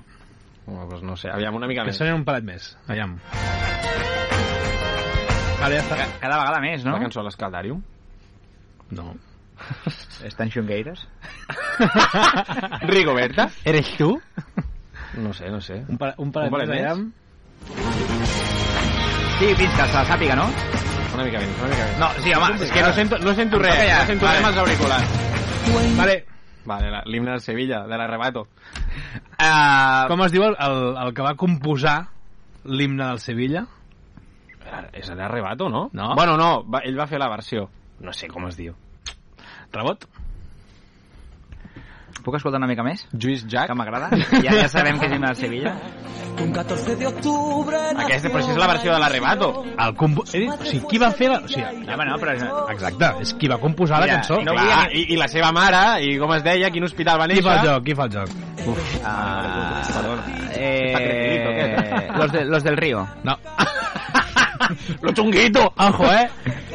Speaker 5: Bueno, pues no sé, aviam una mica
Speaker 4: Que
Speaker 5: més.
Speaker 4: soni un palet més. Aviam. Vale, ja està.
Speaker 2: Cada vegada més, no?
Speaker 5: La cançó a l'Escaldarium.
Speaker 4: No.
Speaker 2: Estan xungueires.
Speaker 5: Rigoberta, eres tu? No sé, no sé.
Speaker 4: Un, pa, un
Speaker 5: palet més,
Speaker 4: aviam.
Speaker 2: Sí, fins que se la sàpiga, no?
Speaker 5: Una mica més, una mica més.
Speaker 2: No, sí, home, és que no sento...
Speaker 5: no sento
Speaker 2: res, no sento res amb
Speaker 5: els auriculars.
Speaker 4: Vale.
Speaker 5: Vale, la- l'himne del Sevilla, de l'arrebato.
Speaker 2: Uh,
Speaker 4: Com es diu el, el, el que va composar l'himne del Sevilla?
Speaker 5: És l'arrebato, no?
Speaker 4: No.
Speaker 5: Bueno, no, va, ell va fer la versió. No sé com es diu.
Speaker 4: Rebot?
Speaker 2: Eh, Puc escoltar una mica més?
Speaker 5: Lluís Jack?
Speaker 2: Que m'agrada. Ja, ja sabem que és himne de Sevilla. este
Speaker 5: Aquesta, però això és la versió de l'arrebato.
Speaker 4: El compo... He dit, o sigui, qui va fer la... O sigui,
Speaker 2: Home, no, Ah, però... és-
Speaker 4: exacte, és qui va composar la
Speaker 2: Mira,
Speaker 4: cançó.
Speaker 2: no
Speaker 4: Clar.
Speaker 5: Clar, i, i la seva mare, i com es deia, quin hospital va
Speaker 4: Qui fa el
Speaker 5: néixer...
Speaker 4: joc? Qui fa el joc?
Speaker 2: Ah,
Speaker 5: Está crecidito,
Speaker 2: eh,
Speaker 5: ¿qué?
Speaker 2: los, de, los del río.
Speaker 4: No.
Speaker 5: Lo chunguito!
Speaker 4: Ojo, eh?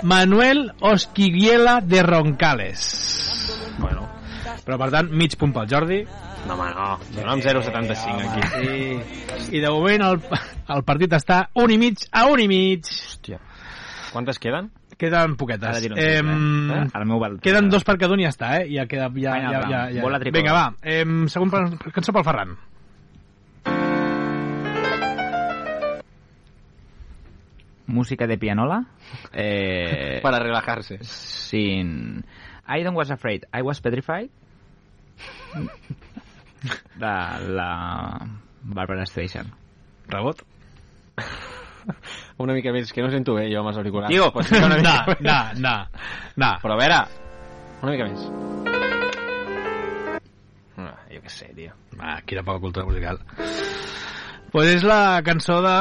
Speaker 4: Manuel Osquiguiela de Roncales.
Speaker 5: Bueno,
Speaker 4: Però, per tant, mig punt pel Jordi.
Speaker 5: no, home, no. Donem
Speaker 2: Eh,
Speaker 5: 0,75 aquí.
Speaker 4: I de moment el, el partit està un i mig a un i mig.
Speaker 5: Hòstia. eh. Quantes queden?
Speaker 4: Queden
Speaker 2: Ara
Speaker 4: poquetes.
Speaker 2: tiro un
Speaker 4: Eh,
Speaker 2: tiro, eh? Ara el meu val.
Speaker 4: Queden dos per cada un i ja està, eh? Ja queda... Ja,
Speaker 2: Final
Speaker 4: ja,
Speaker 2: round.
Speaker 4: ja, ja.
Speaker 2: Bola triple.
Speaker 4: Vinga, va. Eh, segon per, cançó pel Ferran.
Speaker 2: Música de pianola. Eh,
Speaker 5: Para relajarse.
Speaker 2: sin... I don't was afraid, I was petrified. De la... Barbara Streisand.
Speaker 4: Rebot?
Speaker 5: Una mica més, que no sento bé jo amb els auriculars.
Speaker 2: Digo,
Speaker 5: Pots ficar
Speaker 4: No,
Speaker 5: una mica
Speaker 4: no,
Speaker 5: més?
Speaker 4: no, no. no.
Speaker 5: Però a veure, una mica més. Ah, jo què sé, tio.
Speaker 4: Ah, quina poca cultura musical. Pues és la cançó de...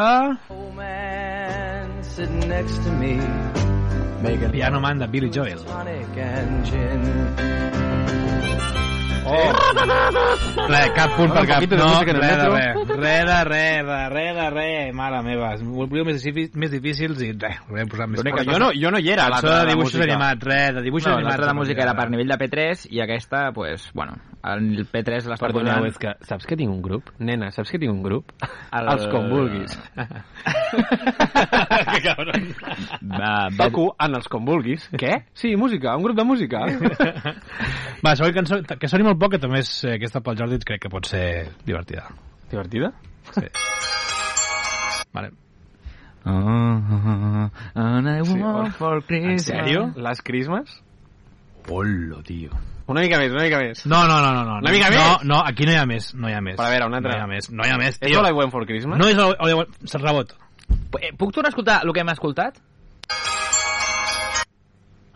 Speaker 4: Piano Man de Billy Joel. Oh. Re, cap punt
Speaker 5: Un
Speaker 4: pel cap.
Speaker 5: poquito de música en el
Speaker 4: re de
Speaker 5: metro.
Speaker 4: re. Re de re, de re de re. Mare meva, volvíeu més, difí- més difícils i re, ho hem posat més
Speaker 5: Però
Speaker 4: fàcil.
Speaker 5: jo no, jo no hi era,
Speaker 4: Cançó
Speaker 5: l'altra
Speaker 4: de
Speaker 5: la
Speaker 4: dibuixos
Speaker 5: música.
Speaker 4: animats, re, de dibuixos
Speaker 2: No,
Speaker 4: animats.
Speaker 2: l'altra de música era per nivell de P3 i aquesta, pues, bueno, el P3 l'està
Speaker 5: Perdoneu,
Speaker 2: posant...
Speaker 5: és que saps que tinc un grup? Nena, saps que tinc un grup? El... Els com vulguis.
Speaker 4: que cabron.
Speaker 2: Va, va,
Speaker 5: Toco en els com vulguis. Què? Sí, música, un grup de música.
Speaker 4: Va, següent cançó, que soni molt poc, que també és eh, aquesta pel Jordi, crec que pot ser divertida.
Speaker 5: Divertida?
Speaker 4: Vale.
Speaker 2: Oh, oh, oh, and I
Speaker 5: Sí,
Speaker 2: want
Speaker 5: hola.
Speaker 2: for
Speaker 4: En
Speaker 2: Christmas.
Speaker 4: sèrio?
Speaker 5: Les Christmas?
Speaker 4: Polo, tio.
Speaker 5: Una mica més, una mica més.
Speaker 4: No, no, no, no. no
Speaker 5: Una mica
Speaker 4: no,
Speaker 5: més?
Speaker 4: No, aquí no hi ha més, no hi ha més.
Speaker 5: Però a veure, una altra.
Speaker 4: No hi ha més, no hi ha més,
Speaker 5: És
Speaker 4: tio.
Speaker 5: All I Want for Christmas?
Speaker 4: No és el... el, el, el rebot.
Speaker 2: P- eh, Puc tornar a escoltar el que hem escoltat?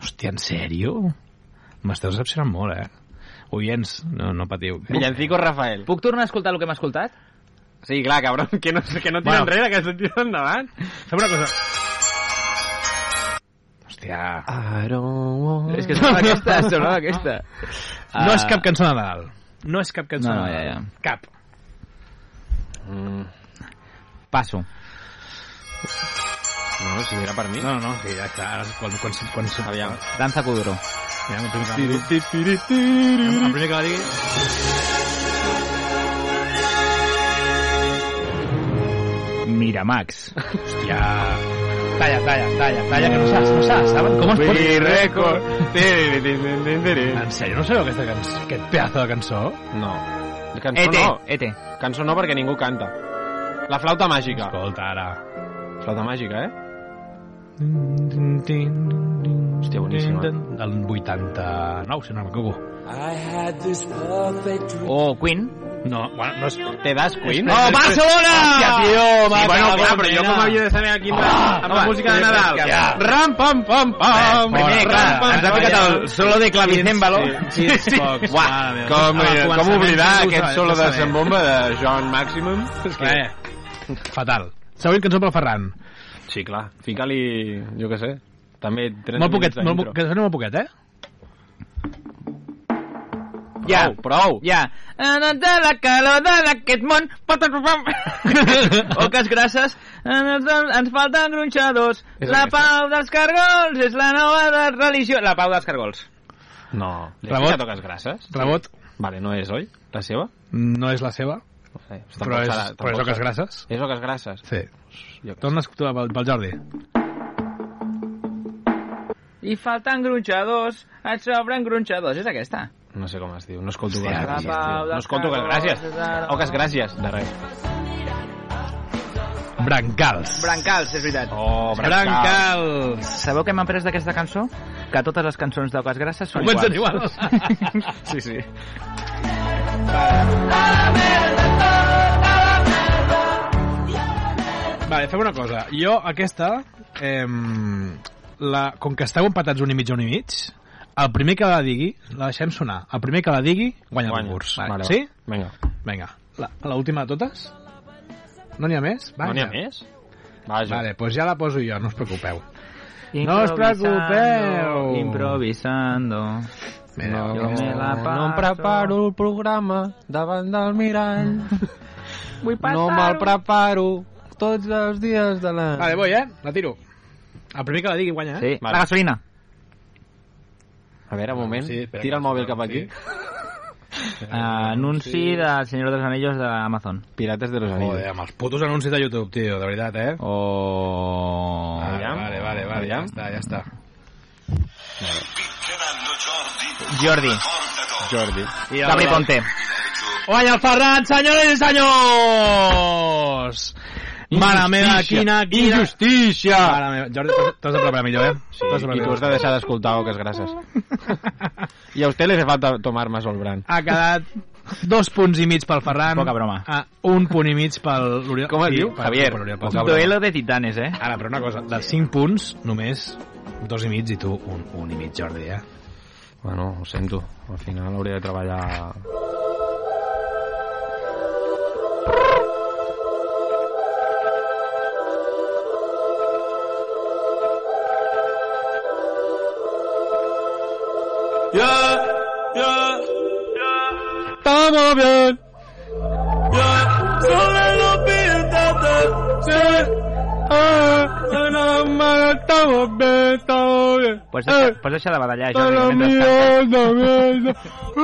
Speaker 4: Hòstia, en sèrio? M'esteu decepcionant molt, eh? Oients, no, no patiu.
Speaker 5: Villancico Rafael.
Speaker 2: Puc tornar a escoltar el que hem escoltat?
Speaker 5: Sí, clar, cabrón, que no, que no tira
Speaker 4: Bueno.
Speaker 5: enrere, que ¿eh? se tira endavant.
Speaker 4: Fem una cosa... Hòstia...
Speaker 5: Ah.
Speaker 2: És que sonava aquesta, sonava aquesta.
Speaker 4: No és cap cançó de Nadal. No és cap cançó
Speaker 2: No,
Speaker 4: de
Speaker 2: no,
Speaker 4: Nadal.
Speaker 2: ja, ja.
Speaker 4: Cap.
Speaker 5: Mm.
Speaker 2: Passo.
Speaker 5: No, si era per mi.
Speaker 4: No, no, sí, ja està. Ara, quan, quan, quan, quan,
Speaker 5: Aviam.
Speaker 2: Danza Cudro.
Speaker 4: Ja, el primer que
Speaker 5: Tiri,
Speaker 4: la-
Speaker 5: tiri, tiri, tiri.
Speaker 4: el primer que la digui...
Speaker 2: Miramax.
Speaker 4: Hòstia... Talla, talla, talla, talla, que no saps, no saps, saben com es pot...
Speaker 5: Free record. Tiri, tiri, tiri, tiri.
Speaker 4: En sèrio, no sabeu aquesta cançó? Aquest pedazo de cançó?
Speaker 5: No. Cançó
Speaker 2: Ete,
Speaker 5: no.
Speaker 2: ete.
Speaker 5: Cançó no perquè ningú canta. La flauta màgica.
Speaker 4: Escolta, ara...
Speaker 5: Flauta màgica, eh?
Speaker 4: Hòstia,
Speaker 5: boníssima.
Speaker 4: Del 89, si no m'equivoco.
Speaker 2: O Queen.
Speaker 4: No, bueno, no és...
Speaker 5: Te das Queen?
Speaker 4: No, Barcelona! Hòstia, tio, va,
Speaker 5: Sí, bueno,
Speaker 4: que la
Speaker 5: clar, però jo
Speaker 4: pena.
Speaker 5: com havia de saber aquí amb,
Speaker 4: Ah,
Speaker 5: la, amb la
Speaker 4: home,
Speaker 5: música de Nadal?
Speaker 4: ja.
Speaker 5: Ram, pam, pam, pam.
Speaker 2: Primer,
Speaker 5: Ram,
Speaker 2: clar,
Speaker 5: pam,
Speaker 2: ens ha
Speaker 5: pam,
Speaker 2: picat
Speaker 5: pam.
Speaker 2: el solo de clavicémbalo.
Speaker 5: Sí, sí, sí. Uah,
Speaker 4: mare meva.
Speaker 5: com, eh,
Speaker 4: Al
Speaker 5: com
Speaker 4: començament
Speaker 5: oblidar
Speaker 4: ningú ho
Speaker 5: aquest
Speaker 4: sabia,
Speaker 5: solo
Speaker 4: no
Speaker 5: de
Speaker 4: sabia.
Speaker 5: sembomba de John Maximum? És que...
Speaker 4: Eh, fatal. Següent cançó pel Ferran.
Speaker 5: Sí, clar. Fica-li, jo què sé, també 30
Speaker 4: Molt poquet,
Speaker 5: minuts
Speaker 4: molt,
Speaker 5: d'intro.
Speaker 4: po- que sona molt poquet, eh?
Speaker 2: Ja.
Speaker 5: Prou, prou.
Speaker 2: Ja. De la calor d'aquest món... patapapam. Oques grasses, ens ens falten gronxadors.
Speaker 5: És
Speaker 2: La
Speaker 5: aquesta.
Speaker 2: pau dels cargols és la nova de- religió. La pau dels cargols.
Speaker 5: No. Li has
Speaker 4: Rebot.
Speaker 5: ficat toques grasses?
Speaker 4: Rebot
Speaker 5: Vale, no és, oi? La seva?
Speaker 4: no és la seva,
Speaker 5: Eh,
Speaker 4: però és, però és Oques Grasses.
Speaker 5: És oques grasses.
Speaker 4: Sí.
Speaker 5: Jo què
Speaker 4: Torna a escoltar pel, pel Jordi.
Speaker 2: I falten gronxadors, et sobren gronxadors. És aquesta.
Speaker 5: sé. No sé com es diu. No escolto
Speaker 2: Hòstia,
Speaker 5: oques
Speaker 2: la
Speaker 5: gràcies.
Speaker 2: pau
Speaker 5: tio.
Speaker 2: dels
Speaker 5: No escolto oques
Speaker 2: cargols,
Speaker 5: gràcies.
Speaker 2: és la-
Speaker 5: Oques gràcies. De res.
Speaker 4: Brancals.
Speaker 2: Brancals, és veritat.
Speaker 5: Oh,
Speaker 4: Brancals.
Speaker 2: Sabeu què m'ha après d'aquesta cançó? Que totes les cançons d'Oques Grasses són
Speaker 4: Comencen
Speaker 2: iguals.
Speaker 4: iguals.
Speaker 2: Sí, sí.
Speaker 4: vale, fem una cosa. Jo aquesta, eh, la, com que esteu empatats un i mig, un i mig, el primer que la digui, la deixem sonar. El primer que la digui, guanya el concurs.
Speaker 5: Vale, vale.
Speaker 4: Sí?
Speaker 5: Vinga.
Speaker 4: Vinga. La- L'última de totes? No n'hi ha més?
Speaker 5: No n'hi ha més? Vaja.
Speaker 4: Vale, doncs pues ja la poso jo, no us preocupeu. No us preocupeu.
Speaker 2: Improvisando.
Speaker 4: Mira,
Speaker 2: Jo me la passo.
Speaker 5: No em preparo el programa davant del mirall.
Speaker 2: Vull
Speaker 5: No me'l preparo tots els dies de la...
Speaker 4: Vale, voy, eh? La tiro. El primer que la digui guanya, eh?
Speaker 2: Sí,
Speaker 5: Vale.
Speaker 2: la gasolina.
Speaker 5: A veure, un moment.
Speaker 4: Sí, espera
Speaker 5: Tira el
Speaker 4: que-
Speaker 5: mòbil cap aquí.
Speaker 2: Anunci del Senyor dels Anillos de Amazon.
Speaker 5: Pirates de los
Speaker 4: Joder,
Speaker 5: Anillos.
Speaker 4: amb els putos anuncis de YouTube, tio, de veritat, eh?
Speaker 2: O...
Speaker 4: Ah,
Speaker 5: Aviam.
Speaker 4: vale, vale, vale, ja
Speaker 5: Aviam.
Speaker 4: està, ja està.
Speaker 2: Jordi.
Speaker 5: Jordi.
Speaker 2: I Gabri Ponte.
Speaker 4: Guanya el Ferran, senyores i senyors! Mare meva, quina... quina... Injustícia! Mare meva, Jordi, t'has- t'has de preparar millor, eh?
Speaker 5: Sí,
Speaker 4: T'has de
Speaker 5: I
Speaker 4: preparar
Speaker 5: tu has de deixar d'escoltar oques grasses. I a usted le hace falta tomar más Olbran.
Speaker 4: Ha quedat dos punts i mig pel Ferran.
Speaker 2: Poca broma.
Speaker 4: Ah, un punt i mig pel l'Oriol.
Speaker 5: Com es diu?
Speaker 4: per-
Speaker 5: Javier.
Speaker 4: per l'Oriol
Speaker 5: Poca
Speaker 4: Pons.
Speaker 5: broma.
Speaker 2: Duelo de titanes, eh?
Speaker 5: Ah.
Speaker 4: Ara, però una cosa, dels 5 punts, només dos i mig i tu un, un i mig, Jordi, eh?
Speaker 5: Bueno, ho sento. Al final hauria de treballar... Ah,
Speaker 2: Pots
Speaker 5: Ah. Eh.
Speaker 2: deixar, pots deixar de badallar, Jordi, mentre cantes.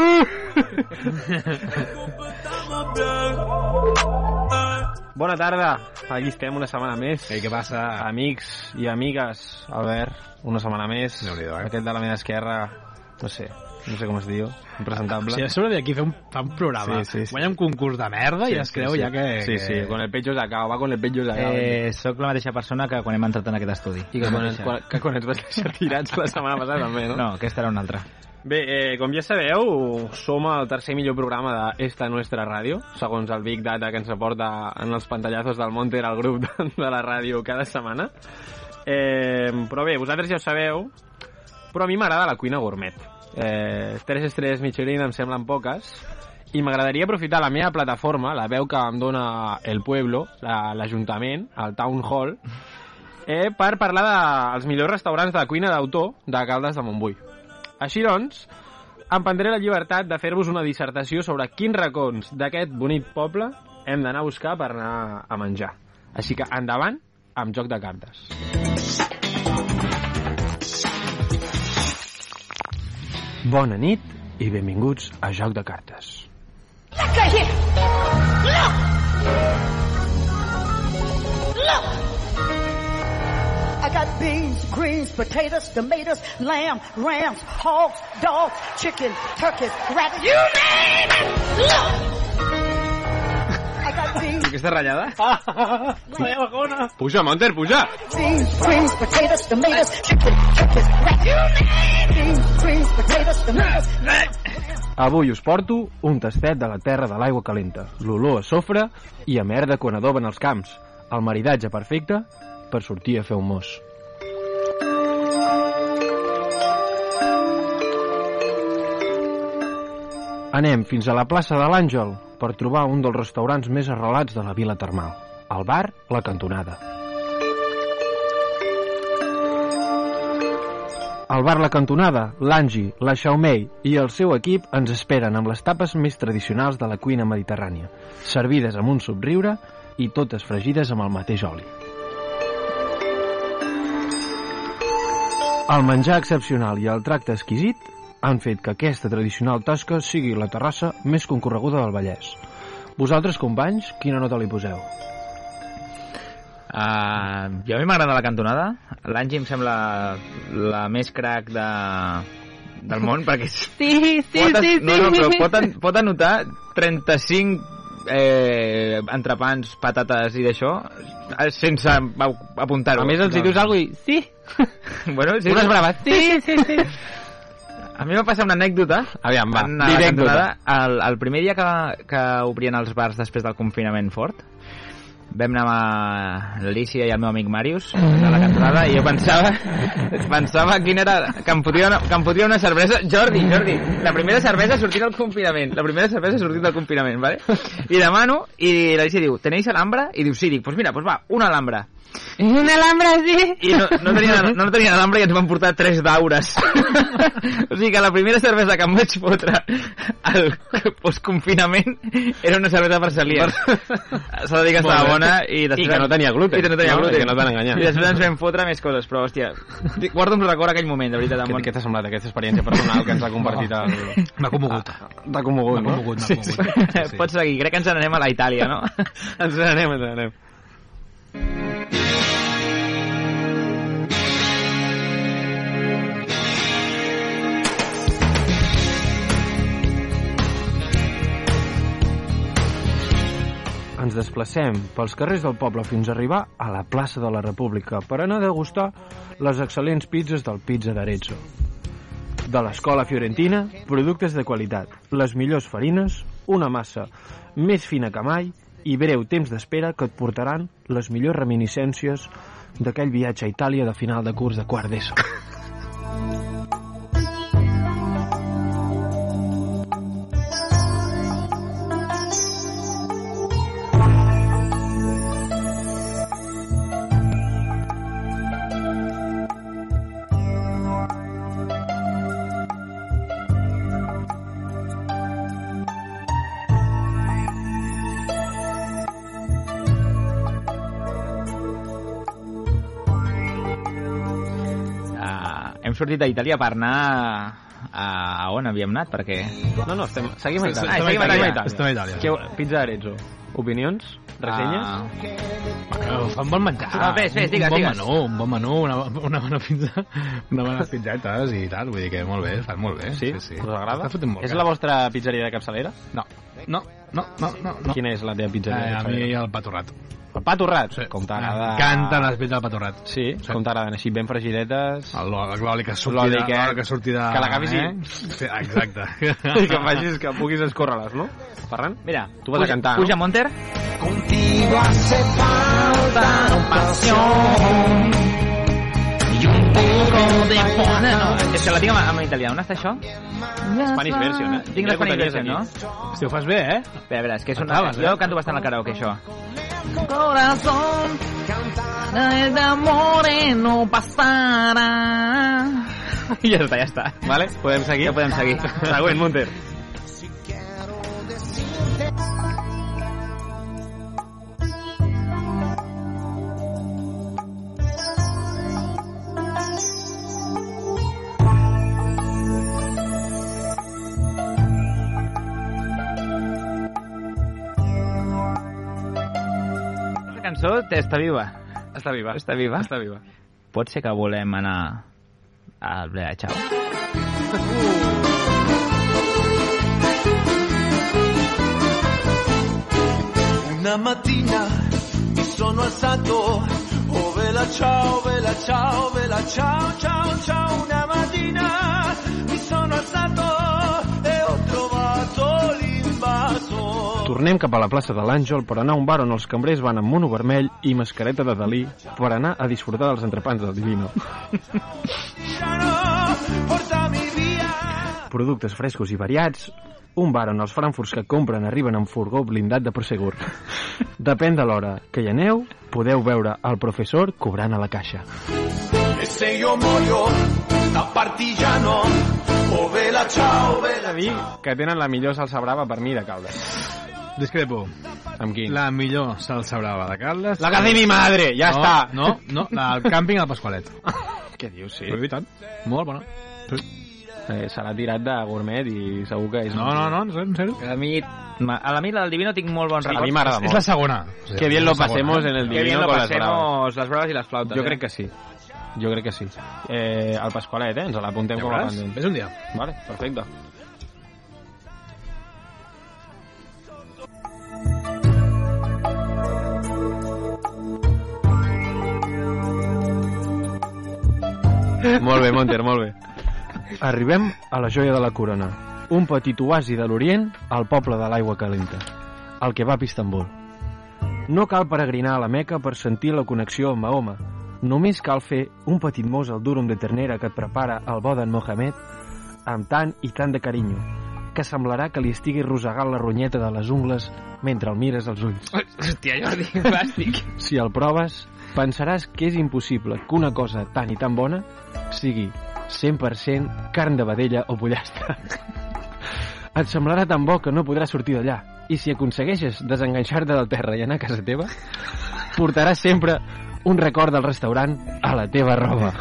Speaker 5: Bona tarda. Aquí estem una setmana més.
Speaker 4: Ei, què passa?
Speaker 5: Amics i amigues. Albert, una setmana més.
Speaker 4: Déu-n'hi-do, eh?
Speaker 5: Aquest de la meva esquerra, no sé, no sé com es diu. Impresentable.
Speaker 4: Si a sobre d'aquí fa un, fa un programa,
Speaker 5: Sí, sí, sí.
Speaker 4: guanya un concurs de merda i es creu
Speaker 5: sí.
Speaker 4: ja que...
Speaker 5: Sí,
Speaker 4: que...
Speaker 5: sí, con el pecho sacado, va con el pecho sacado.
Speaker 2: Eh, soc la mateixa persona que quan hem entrat en aquest estudi.
Speaker 5: I que quan, ens, quan, que quan ens vas deixar tirats la setmana passada també, no?
Speaker 2: No, aquesta era una altra.
Speaker 5: Bé, eh, com ja sabeu, som al tercer millor programa d'Esta Nuestra Ràdio, segons el Big Data que ens aporta en els pantallazos del Monter al grup de, de la ràdio cada setmana. Eh, però bé, vosaltres ja ho sabeu, però a mi m'agrada la cuina gourmet. Eh, tres estrelles Michelin em semblen poques i m'agradaria aprofitar la meva plataforma, la veu que em dona el Pueblo, la- l'Ajuntament, el Town Hall, eh, per parlar dels millors restaurants de cuina d'autor de Caldes de Montbui. Així doncs, em prendré la llibertat de fer-vos una dissertació sobre quins racons d'aquest bonic poble hem d'anar a buscar per anar a menjar. Així que endavant amb Joc de Cartes. Bona nit i benvinguts a Joc de Cartes.
Speaker 7: ¡La calle! ¡No! ¡No!
Speaker 9: I got beans, greens, potatoes, tomatoes, lamb, rams, hogs, dogs, chicken, turkeys, rabbits. You name it! I got beans,
Speaker 2: Aquesta ratllada?
Speaker 5: Puja, Monter, puja!
Speaker 9: beans, greens, potatoes, tomatoes, chicken, turkeys, rabbits. You name it! Beans, greens, potatoes, tomatoes.
Speaker 5: Avui us porto un tastet de la terra de l'aigua calenta, l'olor a sofre i a merda quan adoben els camps, el maridatge perfecte per sortir a fer un mos. Anem fins a la plaça de l'Àngel per trobar un dels restaurants més arrelats de la vila termal, el bar La Cantonada. Al bar La Cantonada, l'Angi, la Xaumei i el seu equip ens esperen amb les tapes més tradicionals de la cuina mediterrània, servides amb un somriure i totes fregides amb el mateix oli. El menjar excepcional i el tracte exquisit han fet que aquesta tradicional tasca sigui la terrassa més concorreguda del Vallès. Vosaltres, companys, quina nota li poseu? Ah.
Speaker 2: Uh, jo a mi m'agrada la cantonada. L'Angie em sembla la més crack de, del món, perquè sí,
Speaker 10: Sí, sí,
Speaker 2: pot,
Speaker 10: sí, sí.
Speaker 2: No, no, però pot, an- pot anotar 35 eh, entrepans, patates i d'això eh, sense ap- apuntar-ho.
Speaker 5: A més, els hi dius
Speaker 2: alguna
Speaker 10: Ui, sí.
Speaker 2: Bueno, sí,
Speaker 5: Unes braves.
Speaker 10: Sí, sí, sí.
Speaker 2: A mi va passar una anècdota.
Speaker 5: Aviam, va,
Speaker 2: Van anar a la cantonada el, el primer dia que, que obrien els bars després del confinament fort vam anar amb l'Alicia i el meu amic Màrius a la cantonada i jo pensava pensava quin era que em fotria una, que em fotria una cervesa Jordi, Jordi, la primera cervesa sortint del confinament la primera cervesa sortint del confinament vale? i demano i l'Alicia diu ¿tenéis alhambra? i diu sí, dic, pues mira, pues va, una alhambra
Speaker 10: Una alhambra así.
Speaker 2: i no, no, tenien, no tenien alambre i ens van portar tres daures. o sigui que la primera cervesa que em vaig fotre al postconfinament era una cervesa per celíacs. S'ha de dir que estava
Speaker 5: Molt bé.
Speaker 2: bona i després...
Speaker 5: I que no tenia gluten.
Speaker 2: I que no tenia
Speaker 5: No,
Speaker 2: gluten.
Speaker 5: i que no et van enganyar.
Speaker 2: I després ens vam fotre més coses, però hòstia, guarda un record aquell moment, de veritat.
Speaker 5: Què,
Speaker 2: Amb...
Speaker 5: què t'ha semblat aquesta experiència personal que ens ha compartit el...
Speaker 4: M'ha commogut.
Speaker 5: T'ha commogut,
Speaker 4: M'ha
Speaker 5: no? Ah,
Speaker 4: commogut, m'ha
Speaker 5: Sí, sí.
Speaker 4: commogut. Sí, sí.
Speaker 2: Pots seguir, crec que ens n'anem a la Itàlia, no?
Speaker 5: Ens n'anem, ens n'anem. Ens desplacem pels carrers del poble fins a arribar a la plaça de la República per anar a degustar les excel·lents pizzas del Pizza d'Arezzo. De l'escola fiorentina, productes de qualitat, les millors farines, una massa més fina que mai i breu temps d'espera que et portaran les millors reminiscències d'aquell viatge a Itàlia de final de curs de quart d'ESO.
Speaker 2: Uh, hem sortit d'Itàlia per anar a, a on havíem anat, perquè...
Speaker 5: No, no, estem, seguim a
Speaker 2: Ah, seguim a Itàlia.
Speaker 4: Estem a Itàlia.
Speaker 5: Què, pizza d'Arezzo. Opinions? Ressenyes?
Speaker 2: Ah,
Speaker 4: Però Fan bon menjar.
Speaker 2: Va, fes, fes, digues,
Speaker 4: un bon
Speaker 2: digues.
Speaker 4: menú, un bon menú, una, una bona pizza, una bona pizzetes i tal. Vull dir que molt bé, fan molt bé.
Speaker 5: sí?
Speaker 4: sí.
Speaker 5: Us agrada?
Speaker 4: Està fotent molt
Speaker 5: és
Speaker 4: bé.
Speaker 5: la vostra pizzeria de capçalera?
Speaker 4: No, no, no, no, no. no.
Speaker 5: Quina és la teva
Speaker 4: Eh,
Speaker 5: pizzeria de
Speaker 4: a mi
Speaker 5: capçalera?
Speaker 4: el patorrat.
Speaker 5: El pa torrat?
Speaker 4: Sí.
Speaker 5: Com t'agrada...
Speaker 4: M'encanten les pizzas del patorrat.
Speaker 5: Sí, com t'agraden, així ben fregidetes...
Speaker 4: El- L'oli que surti
Speaker 5: L'oli
Speaker 4: de...
Speaker 5: que-
Speaker 4: l'oli que eh? surti de...
Speaker 5: que l'agafis i-
Speaker 4: Sí, exacte.
Speaker 5: I que facis que puguis escórrer-les, no? Ferran?
Speaker 2: Mira,
Speaker 5: Tu vas a
Speaker 2: puja,
Speaker 5: cantar, no?
Speaker 2: Puja Monter.
Speaker 3: Contigo hace falta pasión y un poco de
Speaker 2: Bona, no. És que la tinc en, en italià. On està això?
Speaker 5: Spanish version, eh?
Speaker 2: Doncs, Tinc
Speaker 5: Ja
Speaker 2: la Spanish
Speaker 5: votaries
Speaker 2: version, no?
Speaker 5: aquí.
Speaker 2: Hòstia, ho fas bé, eh? A veure, a veure, és que és una...
Speaker 5: Acabes, eh?
Speaker 2: jo canto bastant al karaoke, això.
Speaker 11: Corazón, el amor no pasará.
Speaker 2: I ja està, ja està. Vale, podem seguir? Ja podem seguir. Següent, Munter. Aquesta cançó està viva. Està viva. Està viva. Està viva. Pot ser que volem anar al Blea Chao.
Speaker 12: Una mattina mi sono alzato, oh vela ciao, vela ciao, vela ciao, ciao, ciao. Una mattina mi sono alzato e ho trovato l'invaso.
Speaker 5: Tornem cap a la plaça de l'Àngel per anar a un bar on els cambrers van amb mono vermell i mascareta de Dalí per anar a disfrutar dels entrepans del Divino.
Speaker 12: Portami via.
Speaker 5: Productes frescos i variats, un bar on els frankfurts que compren arriben amb furgó blindat de prosegur. Depèn de l'hora que hi aneu, podeu veure el professor cobrant a la caixa.
Speaker 12: E se io muoio da partigiano, oh vela ciao, vela ciao.
Speaker 5: Que tenen la millor salsa brava per mi de calda.
Speaker 4: Discrepo.
Speaker 5: Amb qui?
Speaker 4: La millor salsa brava de Carles.
Speaker 5: La que hace mi madre, ja
Speaker 4: no,
Speaker 5: està.
Speaker 4: No, no, la del càmping al Pasqualet.
Speaker 5: Què dius, sí?
Speaker 4: Però i tant. Molt bona.
Speaker 5: Eh, se l'ha tirat de gourmet i segur que és...
Speaker 4: No, no, no, en sèrio, en sèrio.
Speaker 2: A mi, ma- a la mi la del Divino tinc molt bons
Speaker 5: Sí, a
Speaker 2: records.
Speaker 5: mi m'agrada molt. eh? És la segona. Que
Speaker 2: és
Speaker 5: bien
Speaker 2: la
Speaker 5: lo
Speaker 2: segona.
Speaker 5: pasemos en el
Speaker 2: Que bien
Speaker 5: Divino
Speaker 2: lo
Speaker 5: con las
Speaker 2: pasemos, les braves i les flautes.
Speaker 5: Jo
Speaker 2: eh?
Speaker 5: crec que sí. Jo crec que sí. Eh, el Pasqualet, eh? Ens l'apuntem
Speaker 4: Ja
Speaker 5: com a
Speaker 4: veuràs.
Speaker 5: pendent.
Speaker 4: Vés un dia.
Speaker 5: Vale, perfecte. Molt bé, Monter, molt bé. Arribem a la joia de la corona. Un petit oasi de l'Orient al poble de l'aigua calenta. El que va a Istanbul. No cal peregrinar a la Meca per sentir la connexió amb Mahoma. Només cal fer un petit mos al durum de ternera que et prepara el bo d'en Mohamed amb tant i tant de carinyo que semblarà que li estigui rosegant la ronyeta de les ungles mentre el mires als ulls.
Speaker 2: Hòstia, Jordi, plàstic.
Speaker 5: Si el proves, pensaràs que és impossible que una cosa tan i tan bona sigui 100% carn de vedella o pollastre. Et semblarà tan bo que no podràs sortir d'allà. I si aconsegueixes desenganxar-te del terra i anar a casa teva, portaràs sempre un record del restaurant a la teva roba.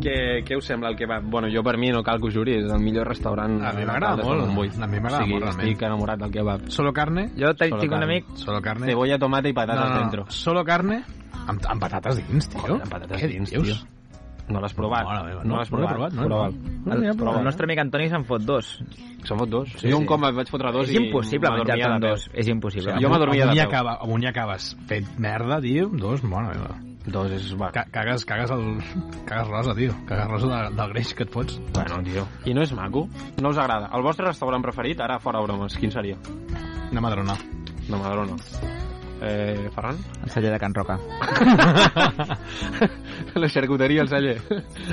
Speaker 5: Què, què us sembla el que va? Bueno, jo per mi no cal que ho juri, és el millor restaurant
Speaker 4: A mi m'agrada
Speaker 5: de
Speaker 4: molt.
Speaker 5: Montbui.
Speaker 4: A mi m'agrada
Speaker 5: o sigui,
Speaker 4: molt, realment.
Speaker 5: Estic enamorat del kebab.
Speaker 4: Solo carne.
Speaker 2: Jo te-
Speaker 5: Solo
Speaker 2: tinc un
Speaker 5: carne.
Speaker 2: amic...
Speaker 4: Solo carne.
Speaker 5: Cebolla, tomata i patates
Speaker 4: no, no,
Speaker 5: dentro.
Speaker 4: No. Solo carne amb, amb patates dins, tio.
Speaker 5: Joder, amb patates
Speaker 4: Què
Speaker 5: dins,
Speaker 4: dius?
Speaker 5: tio. No l'has provat.
Speaker 4: Mare meva,
Speaker 5: no
Speaker 4: no,
Speaker 5: l'has
Speaker 4: no l'he
Speaker 5: provat.
Speaker 4: provat, no l'he
Speaker 5: Prova'l.
Speaker 4: No l'he
Speaker 5: El-
Speaker 4: provat.
Speaker 2: El nostre amic Antoni se'n fot dos.
Speaker 5: Se'n fot dos.
Speaker 2: Sí,
Speaker 5: jo un
Speaker 2: sí.
Speaker 5: cop em vaig fotre dos
Speaker 2: és
Speaker 5: i
Speaker 2: impossible
Speaker 5: m'adormia
Speaker 2: menjar-te'n
Speaker 5: de peu.
Speaker 2: dos. És impossible.
Speaker 5: Jo m'adormia de
Speaker 4: Amunt i
Speaker 5: peu.
Speaker 4: acaba, amunt i acabes fet merda, tio. Dos, bona meva.
Speaker 5: Dos és... Va.
Speaker 4: Ca cagues, cagues, el, cagues rosa, tio. Cagues rosa de, del greix que et fots.
Speaker 5: Bueno, tio. I no és maco? No us agrada? El vostre restaurant preferit, ara fora bromes, quin seria?
Speaker 4: Una madrona.
Speaker 5: No m'agrada, no. Eh, Ferran?
Speaker 2: El celler de Can Roca.
Speaker 5: la xarcuteria, el celler.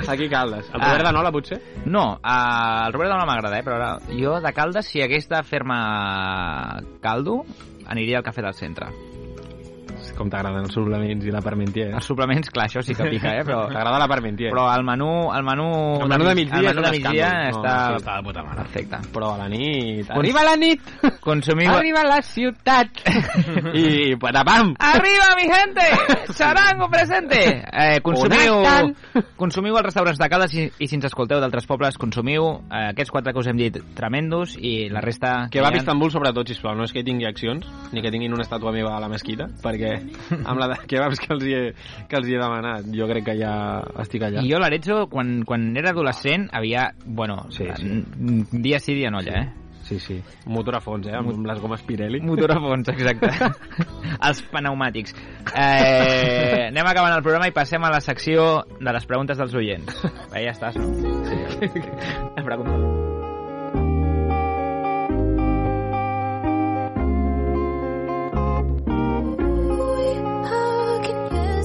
Speaker 5: Aquí Caldes. El Robert
Speaker 2: Ah.
Speaker 5: ah. de Nola, potser?
Speaker 2: No, eh, el Robert no m'agrada, eh, però ara, jo de Caldes, si hagués de fer-me caldo, aniria al Cafè del Centre.
Speaker 5: Com t'agraden els suplements i la eh? Parmentier.
Speaker 2: Els suplements, clar, això sí que pica, eh, però...
Speaker 5: T'agrada la Parmentier.
Speaker 2: Però el menú... El menú,
Speaker 5: El menú de migdia
Speaker 2: el
Speaker 5: és
Speaker 2: menú
Speaker 5: un
Speaker 2: de migdia
Speaker 5: escàndol. No,
Speaker 2: està...
Speaker 5: sí,
Speaker 4: Està de puta mare.
Speaker 2: Perfecte.
Speaker 5: Però a la nit...
Speaker 2: Arriba
Speaker 5: la nit!
Speaker 2: Consumim...
Speaker 10: Arriba la ciutat.
Speaker 5: I patapam!
Speaker 10: Arriba, mi gente.
Speaker 2: Charango presente! Eh, consumiu,
Speaker 10: Connecten.
Speaker 2: consumiu als restaurants de Caldes i, i si ens escolteu d'altres pobles, consumiu eh, aquests quatre que us hem dit, tremendos, i la resta...
Speaker 5: Que va
Speaker 2: hi
Speaker 5: a
Speaker 2: ha-
Speaker 5: Istanbul, sobretot, sisplau, no és que tingui accions, ni que tinguin una estàtua meva a la mesquita, perquè amb la de kebabs que els hi he, que els hi he demanat, jo crec que ja estic allà.
Speaker 2: I jo l'Arezzo, quan, quan era adolescent, havia... Bueno,
Speaker 5: Sí, sí.
Speaker 2: n- dia sí, dia no allà, eh?
Speaker 5: Sí, sí. Motor a fons, eh? Amb, amb les gomes Pirelli.
Speaker 2: Motor a fons, exacte. Els pneumàtics. Eh, anem acabant el programa i passem a la secció de les preguntes dels oients. Bé, ja estàs, no? Sí. La pregunta.
Speaker 6: I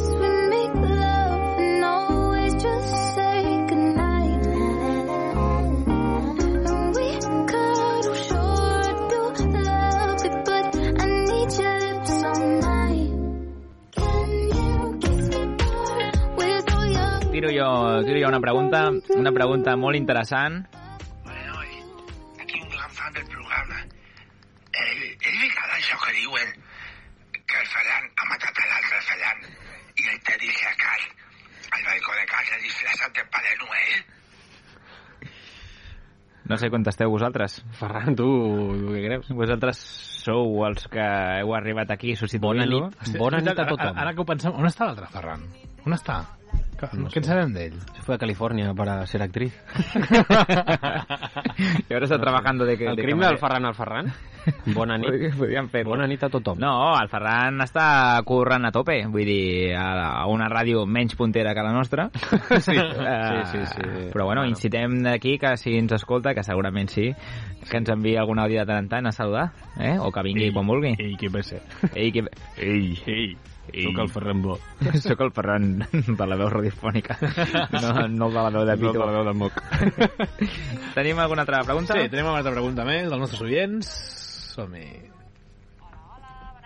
Speaker 2: Tulio, Tulio, hi ha una pregunta, una pregunta molt interessant.
Speaker 13: fan del programa. Eh, és veritat això que diuen que el Ferran ha matat a l'altre Ferran i el Teri s'ha cas al balcó de casa disfressat de Pare Noel?
Speaker 2: No sé contesteu vosaltres.
Speaker 5: Ferran, tu, tu què creus?
Speaker 2: Vosaltres sou els que heu arribat aquí substituint-lo.
Speaker 4: Ara, ara que ho pensem, on està l'altre Ferran? On està? Que, no què en sabem d'ell?
Speaker 5: Se fue a California para ser actriz.
Speaker 2: I ahora está trabajando de que...
Speaker 5: El
Speaker 2: de
Speaker 5: crimen
Speaker 2: camarer.
Speaker 5: del Ferran al Ferran? Bona nit.
Speaker 2: Podríem fer
Speaker 5: Bona nit a tothom.
Speaker 2: No, el Ferran està currant a tope, vull dir, a, a una ràdio menys puntera que la nostra. Sí,
Speaker 5: sí, sí, sí.
Speaker 2: Però bueno, incitem d'aquí que si ens escolta, que segurament sí, que ens enviï algun àudio de tant en tant a saludar, eh? o que vingui ei, quan vulgui. Ei, qui passa? Ei, qui... Ei, ei. Ei.
Speaker 5: Sóc el Ferran Bo.
Speaker 2: Sóc el Ferran de la veu radiofònica. No, no el de la veu de
Speaker 5: No el
Speaker 2: Pito.
Speaker 5: de la veu del moc.
Speaker 2: Tenim alguna altra pregunta?
Speaker 4: Sí, tenim una altra pregunta més dels nostres oients. Som-hi.